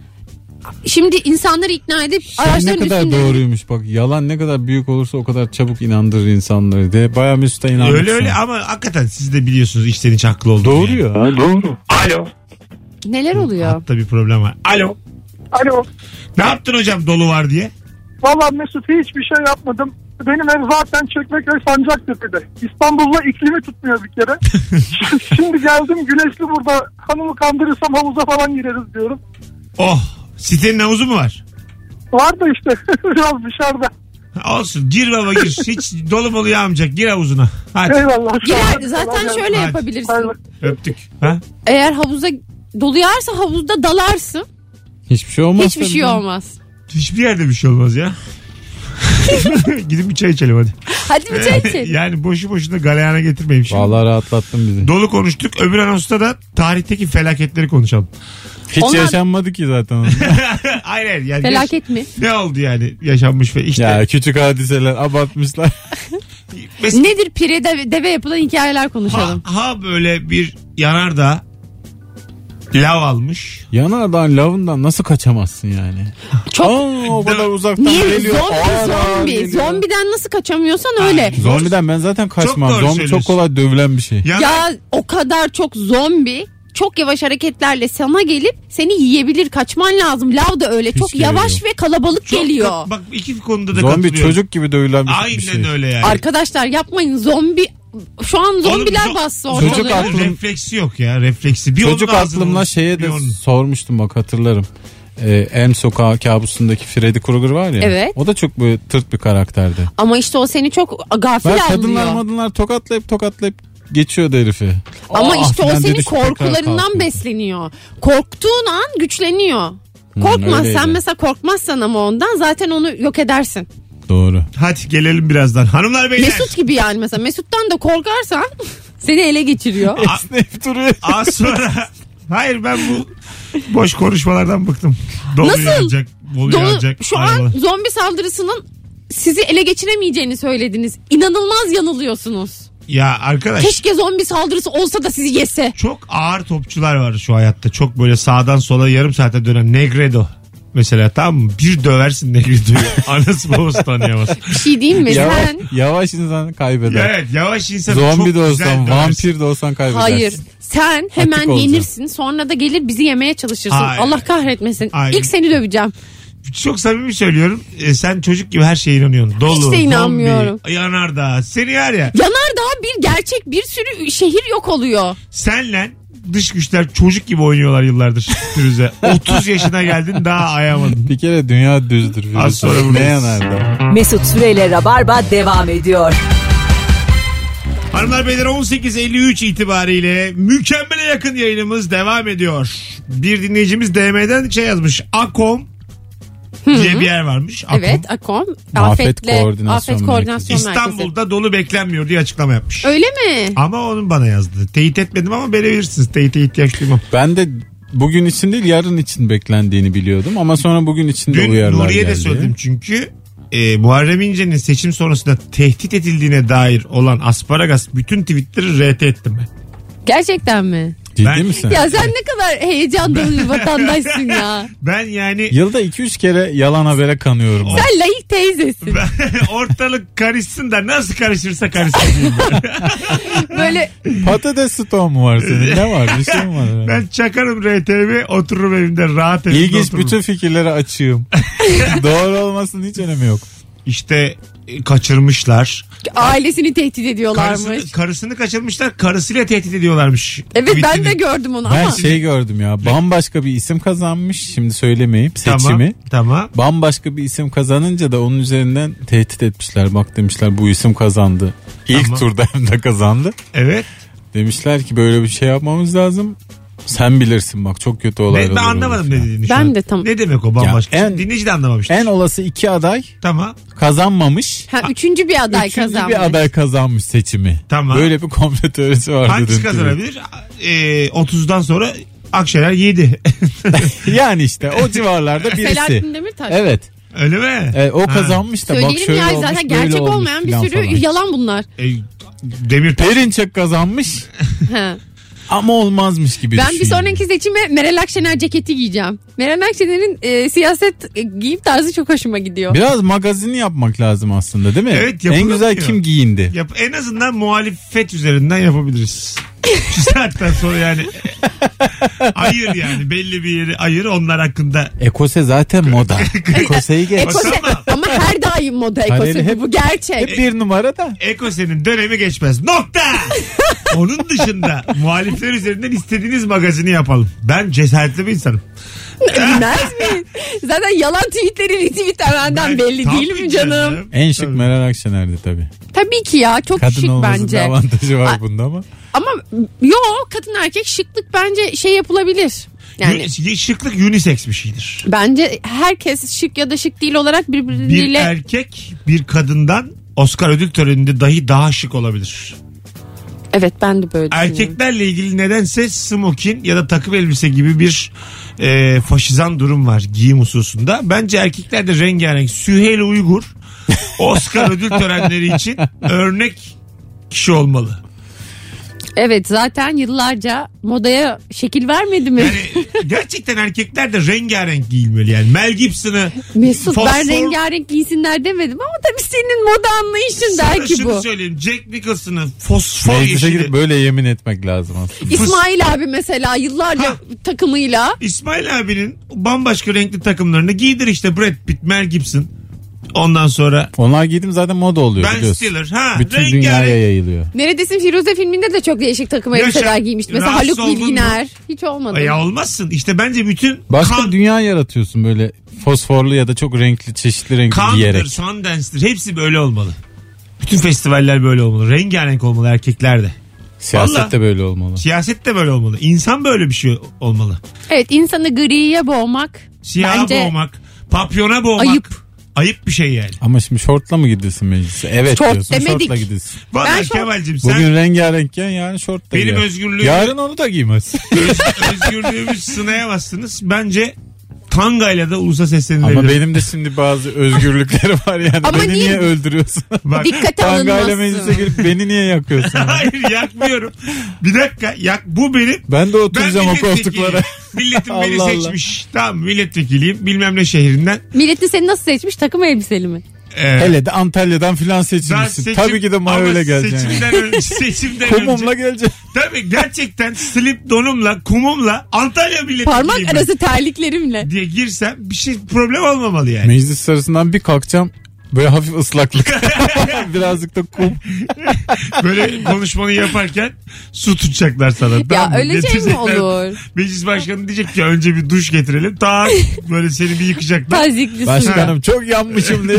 Speaker 3: şimdi insanları ikna edip
Speaker 4: Sen ne
Speaker 3: araçların
Speaker 4: kadar
Speaker 3: üstünde
Speaker 4: doğruymuş bak. Yalan ne kadar büyük olursa o kadar çabuk inandırır insanları diye. Baya Mesut'a inandık.
Speaker 2: öyle
Speaker 4: şu an.
Speaker 2: öyle ama hakikaten siz de biliyorsunuz işten hiç haklı olduğunu.
Speaker 4: Doğru
Speaker 2: yani.
Speaker 4: ya.
Speaker 3: neler oluyor?
Speaker 2: Hatta bir problem var. Alo.
Speaker 5: Hani
Speaker 6: Alo.
Speaker 2: Ne yaptın hocam dolu var diye?
Speaker 6: Valla Mesut hiçbir şey yapmadım. Benim ev zaten Çekmeköy Sancaktepe'de. İstanbul'la iklimi tutmuyor bir kere. Şimdi geldim güneşli burada. Hanımı kandırırsam havuza falan gireriz diyorum.
Speaker 2: Oh sitenin havuzu mu var?
Speaker 6: Var da işte biraz dışarıda.
Speaker 2: Olsun gir baba gir. Hiç dolu molu yağmayacak. Gir havuzuna. Hadi
Speaker 6: Eyvallah.
Speaker 3: Girer, zaten şöyle
Speaker 2: Hadi.
Speaker 3: yapabilirsin.
Speaker 2: öptük. Ha?
Speaker 3: Eğer havuza dolu yağarsa havuzda dalarsın.
Speaker 4: Hiçbir şey olmaz.
Speaker 3: Hiçbir
Speaker 4: tabii
Speaker 3: şey
Speaker 4: canım.
Speaker 3: olmaz.
Speaker 2: Hiçbir yerde bir şey olmaz ya. Gidip bir çay içelim hadi.
Speaker 3: Hadi bir çay için.
Speaker 2: yani boşu boşuna galeyana getirmeyeyim şimdi.
Speaker 4: Vallahi rahatlattın bizi.
Speaker 2: Dolu konuştuk. Öbür anonsta da tarihteki felaketleri konuşalım.
Speaker 4: Hiç
Speaker 3: Onlar-
Speaker 4: yaşanmadı ki zaten.
Speaker 2: Aynen yani.
Speaker 3: Felaket mi?
Speaker 2: Ne oldu yani yaşanmış ve işte.
Speaker 4: ya küçük hadiseler abartmışlar.
Speaker 2: Mes-
Speaker 3: Nedir pire deve, deve yapılan hikayeler
Speaker 2: ha,
Speaker 3: konuşalım.
Speaker 2: ha böyle bir yanardağ lav almış.
Speaker 4: Yanardan lavından nasıl kaçamazsın yani?
Speaker 3: Çok-
Speaker 4: Aa, o kadar uzaktan
Speaker 3: Niye
Speaker 4: geliyor.
Speaker 3: zombi
Speaker 4: Aa,
Speaker 3: zombi?
Speaker 4: geliyor.
Speaker 3: Zombiden nasıl kaçamıyorsan öyle.
Speaker 4: Zombiden ben zaten kaçmam.
Speaker 2: doğru
Speaker 4: Zombi çok
Speaker 2: söylüyorsun.
Speaker 4: kolay dövülen bir şey.
Speaker 2: Yan-
Speaker 3: Ya o kadar çok zombi çok yavaş hareketlerle sana gelip seni yiyebilir kaçman lazım. Lav da öyle çok
Speaker 4: gerek
Speaker 3: yavaş ve kalabalık
Speaker 2: Çok-
Speaker 3: geliyor.
Speaker 2: Bak iki konuda da
Speaker 4: Zombi
Speaker 2: katılıyorum.
Speaker 4: çocuk gibi dövülen bir,
Speaker 2: Aynen
Speaker 4: bir şey.
Speaker 2: öyle yani.
Speaker 3: Arkadaşlar yapmayın zombi şu an zombiler
Speaker 2: Oğlum, zo-
Speaker 3: bassa
Speaker 4: Çocuk
Speaker 3: ortalığı.
Speaker 4: aklı- aklım-
Speaker 2: Refleksi yok ya refleksi. Bir
Speaker 4: Çocuk
Speaker 2: onun ağzını
Speaker 4: aklımla
Speaker 2: vur,
Speaker 4: şeye de
Speaker 2: bir onun.
Speaker 4: sormuştum bak hatırlarım. Ee, M sokağı kabusundaki Freddy Krueger var ya.
Speaker 3: Evet.
Speaker 4: O da çok böyle tırt bir karakterdi.
Speaker 3: Ama işte o seni çok gafil
Speaker 4: Bak
Speaker 3: alıyor.
Speaker 4: kadınlar madınlar tokatlayıp tokatlayıp geçiyordu herifi.
Speaker 3: Ama
Speaker 4: Ah
Speaker 3: işte o
Speaker 4: filan
Speaker 3: seni
Speaker 4: dedi, tekrar
Speaker 3: korkularından
Speaker 4: kalkıyor.
Speaker 3: besleniyor. Korktuğun an güçleniyor.
Speaker 4: Hmm,
Speaker 3: Korkmaz
Speaker 4: öyleydi.
Speaker 3: sen mesela korkmazsan ama ondan zaten onu yok edersin.
Speaker 4: Doğru.
Speaker 2: Hadi gelelim birazdan. Hanımlar beyler.
Speaker 3: Mesut gibi yani mesela Mesut'tan da korkarsan seni ele geçiriyor.
Speaker 4: Esneyip duruyor.
Speaker 2: Az sonra. Hayır ben bu boş konuşmalardan bıktım. Dolu
Speaker 3: Nasıl?
Speaker 2: yanacak. Dolu,
Speaker 3: Dolu,
Speaker 2: yanacak.
Speaker 3: şu
Speaker 2: arabalar.
Speaker 3: an zombi saldırısının sizi ele geçiremeyeceğini söylediniz. İnanılmaz yanılıyorsunuz.
Speaker 2: Ya arkadaş.
Speaker 3: Keşke zombi saldırısı olsa da sizi yese.
Speaker 2: çok ağır topçular var şu hayatta. Çok böyle sağdan sola yarım saate dönen Negredo. Mesela tamam mı? Bir döversin Negredo'yu. Anası babası tanıyamaz.
Speaker 3: Bir şey diyeyim mi?
Speaker 4: Yavaş,
Speaker 3: Sen
Speaker 4: yavaş insan kaybeder.
Speaker 2: evet yavaş insan çok
Speaker 4: Zombi de
Speaker 2: güzel
Speaker 4: olsan,
Speaker 2: döversin.
Speaker 4: vampir de olsan kaybedersin.
Speaker 3: Hayır. Sen hemen
Speaker 4: Atık olacaksın.
Speaker 3: yenirsin. Sonra da gelir bizi yemeye çalışırsın.
Speaker 2: Hayır.
Speaker 3: Allah kahretmesin.
Speaker 2: Hayır.
Speaker 3: İlk seni döveceğim.
Speaker 2: Çok samimi söylüyorum. E, sen çocuk gibi her şeye inanıyorsun. Dolu,
Speaker 3: Hiç de inanmıyorum.
Speaker 2: Zombi, yanardağ. Seni var ya.
Speaker 3: Yanardağ bir gerçek bir sürü şehir yok oluyor.
Speaker 2: Senle dış güçler çocuk gibi oynuyorlar yıllardır Firuze. 30 yaşına geldin daha ayamadın.
Speaker 4: Bir kere dünya düzdür.
Speaker 2: Az sonra
Speaker 4: biliyorsun. Ne
Speaker 2: buradayız.
Speaker 4: yanardı?
Speaker 1: Mesut Süreyle Rabarba devam ediyor.
Speaker 2: Hanımlar beyler 18.53 itibariyle mükemmele yakın yayınımız devam ediyor. Bir dinleyicimiz DM'den şey yazmış. Akom diye bir yer varmış. Akom.
Speaker 3: Evet Akom.
Speaker 4: Afet
Speaker 3: Afetle,
Speaker 4: Koordinasyon
Speaker 3: Afet Koordinasyon Merkezi.
Speaker 2: İstanbul'da dolu beklenmiyor diye açıklama yapmış.
Speaker 3: Öyle mi?
Speaker 2: Ama onun bana yazdı. Teyit etmedim ama verebilirsiniz. Teyite ihtiyaç duymam.
Speaker 4: Ben de bugün için değil yarın için beklendiğini biliyordum ama sonra bugün için de
Speaker 2: Dün
Speaker 4: uyarılar
Speaker 2: Nuriye de
Speaker 4: geldi.
Speaker 2: söyledim çünkü e, Muharrem İnce'nin seçim sonrasında tehdit edildiğine dair olan asparagas bütün tweetleri RT ettim ben.
Speaker 3: Gerçekten mi?
Speaker 4: Ciddi
Speaker 2: Ben-
Speaker 4: misin?
Speaker 3: Ya sen ne kadar heyecan dolu bir vatandaşsın ya.
Speaker 2: Ben yani
Speaker 4: Yılda 2-3 kere yalan habere kanıyorum. ben.
Speaker 3: Sen layık teyzesin.
Speaker 2: ortalık karışsın da nasıl karışırsa karışsın. diyeyim ben.
Speaker 3: Böyle
Speaker 4: Patates stoğu mu var senin? Ne var? Bir şey mi var?
Speaker 2: ben çakarım RTV otururum evimde rahat evimde
Speaker 4: İlginç
Speaker 2: otururum.
Speaker 4: bütün fikirlere açığım. Doğru olmasının hiç önemi yok.
Speaker 2: İşte e, kaçırmışlar.
Speaker 3: ailesini tehdit ediyorlarmış.
Speaker 2: Karısını, karısını kaçırmışlar. Karısıyla tehdit ediyorlarmış.
Speaker 3: Evet ben de
Speaker 2: Tweetini.
Speaker 3: gördüm onu
Speaker 4: Ben
Speaker 3: ama.
Speaker 4: şey gördüm ya bambaşka bir isim kazanmış şimdi söylemeyeyim seçimi.
Speaker 2: Tamam. Tamam.
Speaker 4: Bambaşka bir isim kazanınca da onun üzerinden tehdit etmişler. Bak demişler bu isim kazandı. İlk
Speaker 2: Tamam.
Speaker 4: turda hem de kazandı.
Speaker 2: Evet.
Speaker 4: Demişler ki böyle bir şey yapmamız lazım. Sen bilirsin bak çok kötü
Speaker 2: Ben,
Speaker 4: olay
Speaker 2: ben
Speaker 4: olur olur
Speaker 2: anlamadım ne
Speaker 4: falan.
Speaker 2: dediğini. şu
Speaker 3: Ben
Speaker 2: an.
Speaker 3: de tam-
Speaker 2: Ne demek o bambaşka?
Speaker 4: Ya en-
Speaker 2: Dinleyici de anlamamıştır.
Speaker 4: En olası iki aday
Speaker 2: Tamam.
Speaker 4: kazanmamış.
Speaker 3: Ha, üçüncü bir aday
Speaker 4: Üçüncü
Speaker 3: kazanmış.
Speaker 4: bir aday kazanmış seçimi.
Speaker 2: Tamam.
Speaker 4: Böyle bir komplo teorisi vardı.
Speaker 2: Hangisi
Speaker 4: dün.
Speaker 2: kazanabilir? Ee, 30'dan sonra Akşener 7.
Speaker 4: Yani işte o civarlarda birisi.
Speaker 3: Selahattin Demirtaş.
Speaker 4: Evet.
Speaker 2: Öyle mi?
Speaker 4: E, o
Speaker 2: Ha.
Speaker 4: kazanmış da bak
Speaker 3: Söyleyelim
Speaker 4: şöyle
Speaker 3: ya
Speaker 4: olmuş,
Speaker 3: zaten
Speaker 4: böyle
Speaker 3: gerçek
Speaker 4: olmuş
Speaker 3: olmayan bir
Speaker 4: filan
Speaker 3: sürü
Speaker 4: falan.
Speaker 3: yalan bunlar.
Speaker 2: E, Demirtaş.
Speaker 4: Perinçek kazanmış
Speaker 3: Ha.
Speaker 4: ama olmazmış gibi
Speaker 3: Ben bir
Speaker 4: düşünüyor.
Speaker 3: sonraki seçime Meral Akşener ceketi giyeceğim. Meral Akşener'in e, siyaset e, giyim tarzı çok hoşuma gidiyor.
Speaker 4: Biraz magazini yapmak lazım aslında değil mi?
Speaker 2: Evet,
Speaker 4: en
Speaker 2: yapılamıyor.
Speaker 4: güzel kim giyindi?
Speaker 2: Yap, en azından muhalefet üzerinden yapabiliriz. Şu saatten sonra yani. ayır yani. Belli bir yeri ayır. Onlar hakkında
Speaker 4: Ekose zaten moda. Ekose'yi geç.
Speaker 3: Ekose
Speaker 2: Baksana.
Speaker 3: ama her daim moda
Speaker 4: Kareli
Speaker 3: ekose
Speaker 4: hep-
Speaker 3: bu gerçek.
Speaker 4: Hep bir numara da.
Speaker 2: Ekose'nin dönemi geçmez. Nokta. Onun dışında muhalifler üzerinden istediğiniz magazini yapalım. Ben cesaretli bir insanım.
Speaker 3: Bilmez miyiz? Zaten yalan tweetleri retweetlemenden
Speaker 2: Ben-
Speaker 3: belli
Speaker 2: Tabii
Speaker 3: değil mi canım?
Speaker 4: En şık
Speaker 2: Tabii.
Speaker 4: Meral Akşener'di tabii.
Speaker 3: Tabii ki ya çok
Speaker 4: Kadın
Speaker 3: şık
Speaker 4: olmasının da
Speaker 3: bence.
Speaker 4: avantajı var bunda ama.
Speaker 3: Ama yok kadın erkek şıklık bence şey yapılabilir. Yani
Speaker 2: Yü- Şıklık unisex bir şeydir.
Speaker 3: bence herkes şık ya da şık değil olarak
Speaker 2: Bir er-
Speaker 3: birbiriyle
Speaker 2: erkek bir kadından Oscar ödül töreninde dahi daha şık olabilir.
Speaker 3: evet ben de böyle düşünüyorum.
Speaker 2: Erkeklerle ilgili nedense smokin ya da takım elbise gibi bir e, faşizan durum var giyim hususunda. Bence erkekler de rengarenk Süheyl Uygur Oscar ödül törenleri için örnek kişi olmalı.
Speaker 3: Evet zaten yıllarca modaya şekil vermedi mi?
Speaker 2: Yani gerçekten erkekler de rengarenk giyilmeli yani. Mel Gibson'ı
Speaker 3: Mesut ben
Speaker 2: fosfor-
Speaker 3: rengarenk giysinler demedim ama tabii senin moda anlayışın
Speaker 2: Sana
Speaker 3: belki
Speaker 2: şunu
Speaker 3: bu.
Speaker 2: söyleyeyim. Jack Nicholson'ı fosfor
Speaker 4: Meclise
Speaker 2: yeşili.
Speaker 4: girip böyle yemin etmek lazım aslında.
Speaker 3: İsmail abi mesela yıllarca
Speaker 2: Ha.
Speaker 3: takımıyla
Speaker 2: İsmail abinin bambaşka renkli takımlarını giydir işte Brad Pitt, Mel Gibson. Ondan sonra
Speaker 4: Onlar giydim zaten moda oluyor
Speaker 2: Ben
Speaker 4: biliyorsun.
Speaker 2: Stiller. Ha,
Speaker 4: Bütün
Speaker 2: rengarenk.
Speaker 4: dünyaya yayılıyor.
Speaker 3: Neredesin Firuze filminde de çok değişik takım
Speaker 2: Yaşa.
Speaker 3: elbiseler giymişti. Mesela
Speaker 2: şey? Rahatsız
Speaker 3: Haluk
Speaker 2: oldun mu?
Speaker 3: Bilginer. Hiç olmadı.
Speaker 2: Ay, E Ya olmazsın. İşte bence bütün
Speaker 4: Başka
Speaker 2: kan,
Speaker 4: dünya yaratıyorsun böyle fosforlu ya da çok renkli çeşitli renkli
Speaker 2: kandır,
Speaker 4: giyerek.
Speaker 2: Sundance'dir. Hepsi böyle olmalı. Bütün festivaller böyle olmalı. Rengarenk olmalı erkekler de.
Speaker 4: Siyaset
Speaker 2: Vallahi.
Speaker 4: de böyle olmalı.
Speaker 2: Siyaset de böyle olmalı. İnsan böyle bir şey olmalı.
Speaker 3: Evet insanı griye boğmak.
Speaker 2: Siyaha
Speaker 3: bence
Speaker 2: boğmak, papyona boğmak.
Speaker 3: Ayıp.
Speaker 2: Ayıp bir şey yani.
Speaker 4: Ama şimdi şortla mı gidilsin meclise? Evet
Speaker 3: Şort
Speaker 4: diyorsun
Speaker 3: demedik.
Speaker 4: şortla gidilsin.
Speaker 2: Vallahi
Speaker 3: Ben şu-
Speaker 2: Kemal'cim sen
Speaker 4: Bugün rengarenkken yarın şort da
Speaker 2: Benim
Speaker 4: giyer.
Speaker 2: özgürlüğüm-
Speaker 4: Yarın onu da giymez.
Speaker 2: öz, özgürlüğümüz sınayamazsınız. Bence tangayla da ulusa seslenilebilir.
Speaker 4: Ama benim de şimdi bazı özgürlüklerim var yani.
Speaker 3: Ama
Speaker 4: beni niye,
Speaker 3: niye-
Speaker 4: öldürüyorsun?
Speaker 2: Bak,
Speaker 3: Dikkate
Speaker 4: Tangayla meclise
Speaker 3: alınmasın.
Speaker 4: girip beni niye yakıyorsun?
Speaker 2: Hayır yakmıyorum. Bir dakika yak bu benim.
Speaker 4: ben de oturacağım o
Speaker 2: milletvekili.
Speaker 4: koltuklara.
Speaker 2: Milletim beni
Speaker 4: Allah Allah.
Speaker 2: seçmiş. Tamam milletvekiliyim bilmem ne şehrinden.
Speaker 3: Milletin seni nasıl seçmiş? Takım elbiseli mi?
Speaker 2: Ee,
Speaker 4: Hele de Antalya'dan filan
Speaker 2: ben
Speaker 4: seçilmişsin.
Speaker 2: seçim-
Speaker 4: Tabii ki de mayoyla
Speaker 2: ama
Speaker 4: geleceksin. yani.
Speaker 2: Seçimden önce. Seçimden
Speaker 4: Kumumla
Speaker 2: önce.
Speaker 4: geleceksin.
Speaker 2: Tabii gerçekten slip donumla kumumla Antalya milletvekiliyim.
Speaker 3: Parmak
Speaker 2: ben
Speaker 3: arası terliklerimle.
Speaker 2: diye girsem bir şey problem olmamalı yani.
Speaker 4: Meclis sırasından bir kalkacağım. Böyle hafif ıslaklık. Birazcık da kum.
Speaker 2: Böyle konuşmanı yaparken su tutacaklar sana. tamam
Speaker 3: Ya
Speaker 2: mı?
Speaker 3: öyle şey mi
Speaker 2: Getirecekler.
Speaker 3: olur?
Speaker 2: Meclis başkanı diyecek ki önce bir duş getirelim. Tamam böyle seni bir yıkacaklar.
Speaker 3: Tazikli su.
Speaker 4: Başkanım çok yanmışım diye.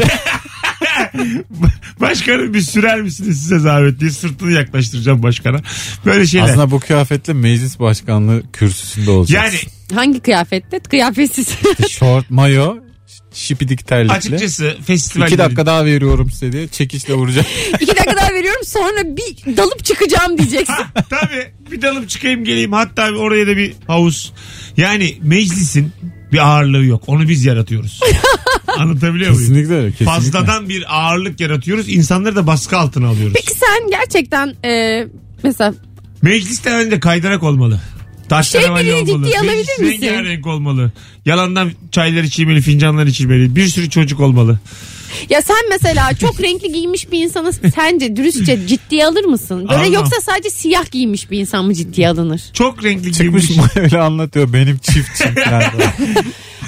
Speaker 2: Başkanım bir sürer misiniz size zahmet diye sırtını yaklaştıracağım başkana. Böyle şeyler.
Speaker 4: Aslında bu kıyafetle meclis başkanlığı kürsüsünde olacaksın.
Speaker 2: yani
Speaker 3: Hangi kıyafette? Kıyafetsiz.
Speaker 4: Şort, mayo, şipidik terlikle.
Speaker 2: açıkçası festival
Speaker 4: İki dakika daha veriyorum size diye çekiçle vuracak.
Speaker 3: İki dakika daha veriyorum sonra bir dalıp çıkacağım diyeceksin.
Speaker 2: Tabii bir dalıp çıkayım geleyim hatta bir oraya da bir havuz. Yani meclisin bir ağırlığı yok. Onu biz yaratıyoruz. Anlatabiliyor muyum?
Speaker 4: kesinlikle öyle. Kesinlikle.
Speaker 2: Fazladan bir ağırlık yaratıyoruz. İnsanları da baskı altına alıyoruz.
Speaker 3: Peki sen gerçekten e, mesela
Speaker 2: Meclisten önce kaydırak olmalı. Taş
Speaker 3: Şey
Speaker 2: karavan
Speaker 3: birini
Speaker 2: olmalı.
Speaker 3: ciddiye alabilir
Speaker 2: Beş-
Speaker 3: misin?
Speaker 2: Rengarenk olmalı. Yalandan çaylar içilmeli, fincanlar içilmeli. Bir sürü çocuk olmalı.
Speaker 3: Ya sen mesela çok renkli giymiş bir insanı sence dürüstçe ciddiye alır mısın? Böyle
Speaker 2: Almam.
Speaker 3: yoksa sadece siyah giymiş bir insan mı ciddiye alınır?
Speaker 2: Çok renkli
Speaker 4: Çıkmış
Speaker 2: giymiş.
Speaker 4: mı öyle anlatıyor benim çift çiftler.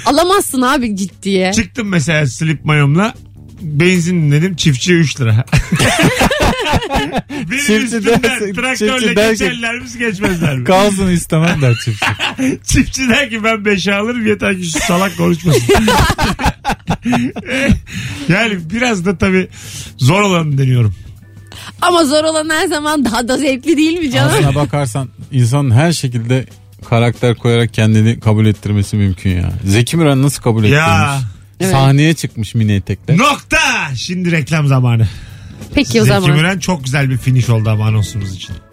Speaker 3: Alamazsın abi ciddiye.
Speaker 2: Çıktım mesela slip mayomla. Benzin dedim çiftçiye 3 lira. Benim
Speaker 4: Çiftçi
Speaker 2: üstümden
Speaker 4: derse-
Speaker 2: traktörle
Speaker 4: çiftçi der ki-
Speaker 2: geçerler mi geçmezler mi?
Speaker 4: Kalsın istemem der çiftçi.
Speaker 2: Çiftçi der ki ben 5'e alırım yeter ki şu salak konuşmasın. yani biraz da tabii zor olanı deniyorum.
Speaker 3: Ama zor olan her zaman daha da zevkli değil mi canım?
Speaker 4: Aslına bakarsan insanın her şekilde karakter koyarak kendini kabul ettirmesi mümkün ya. Zeki Müren nasıl kabul ettirmiş?
Speaker 2: Ya.
Speaker 3: Evet.
Speaker 4: Sahneye çıkmış mini etekle.
Speaker 2: Nokta! Şimdi reklam zamanı.
Speaker 3: Peki o
Speaker 2: Zeki
Speaker 3: zaman.
Speaker 2: Müren çok güzel bir finish oldu ama anonsumuz için.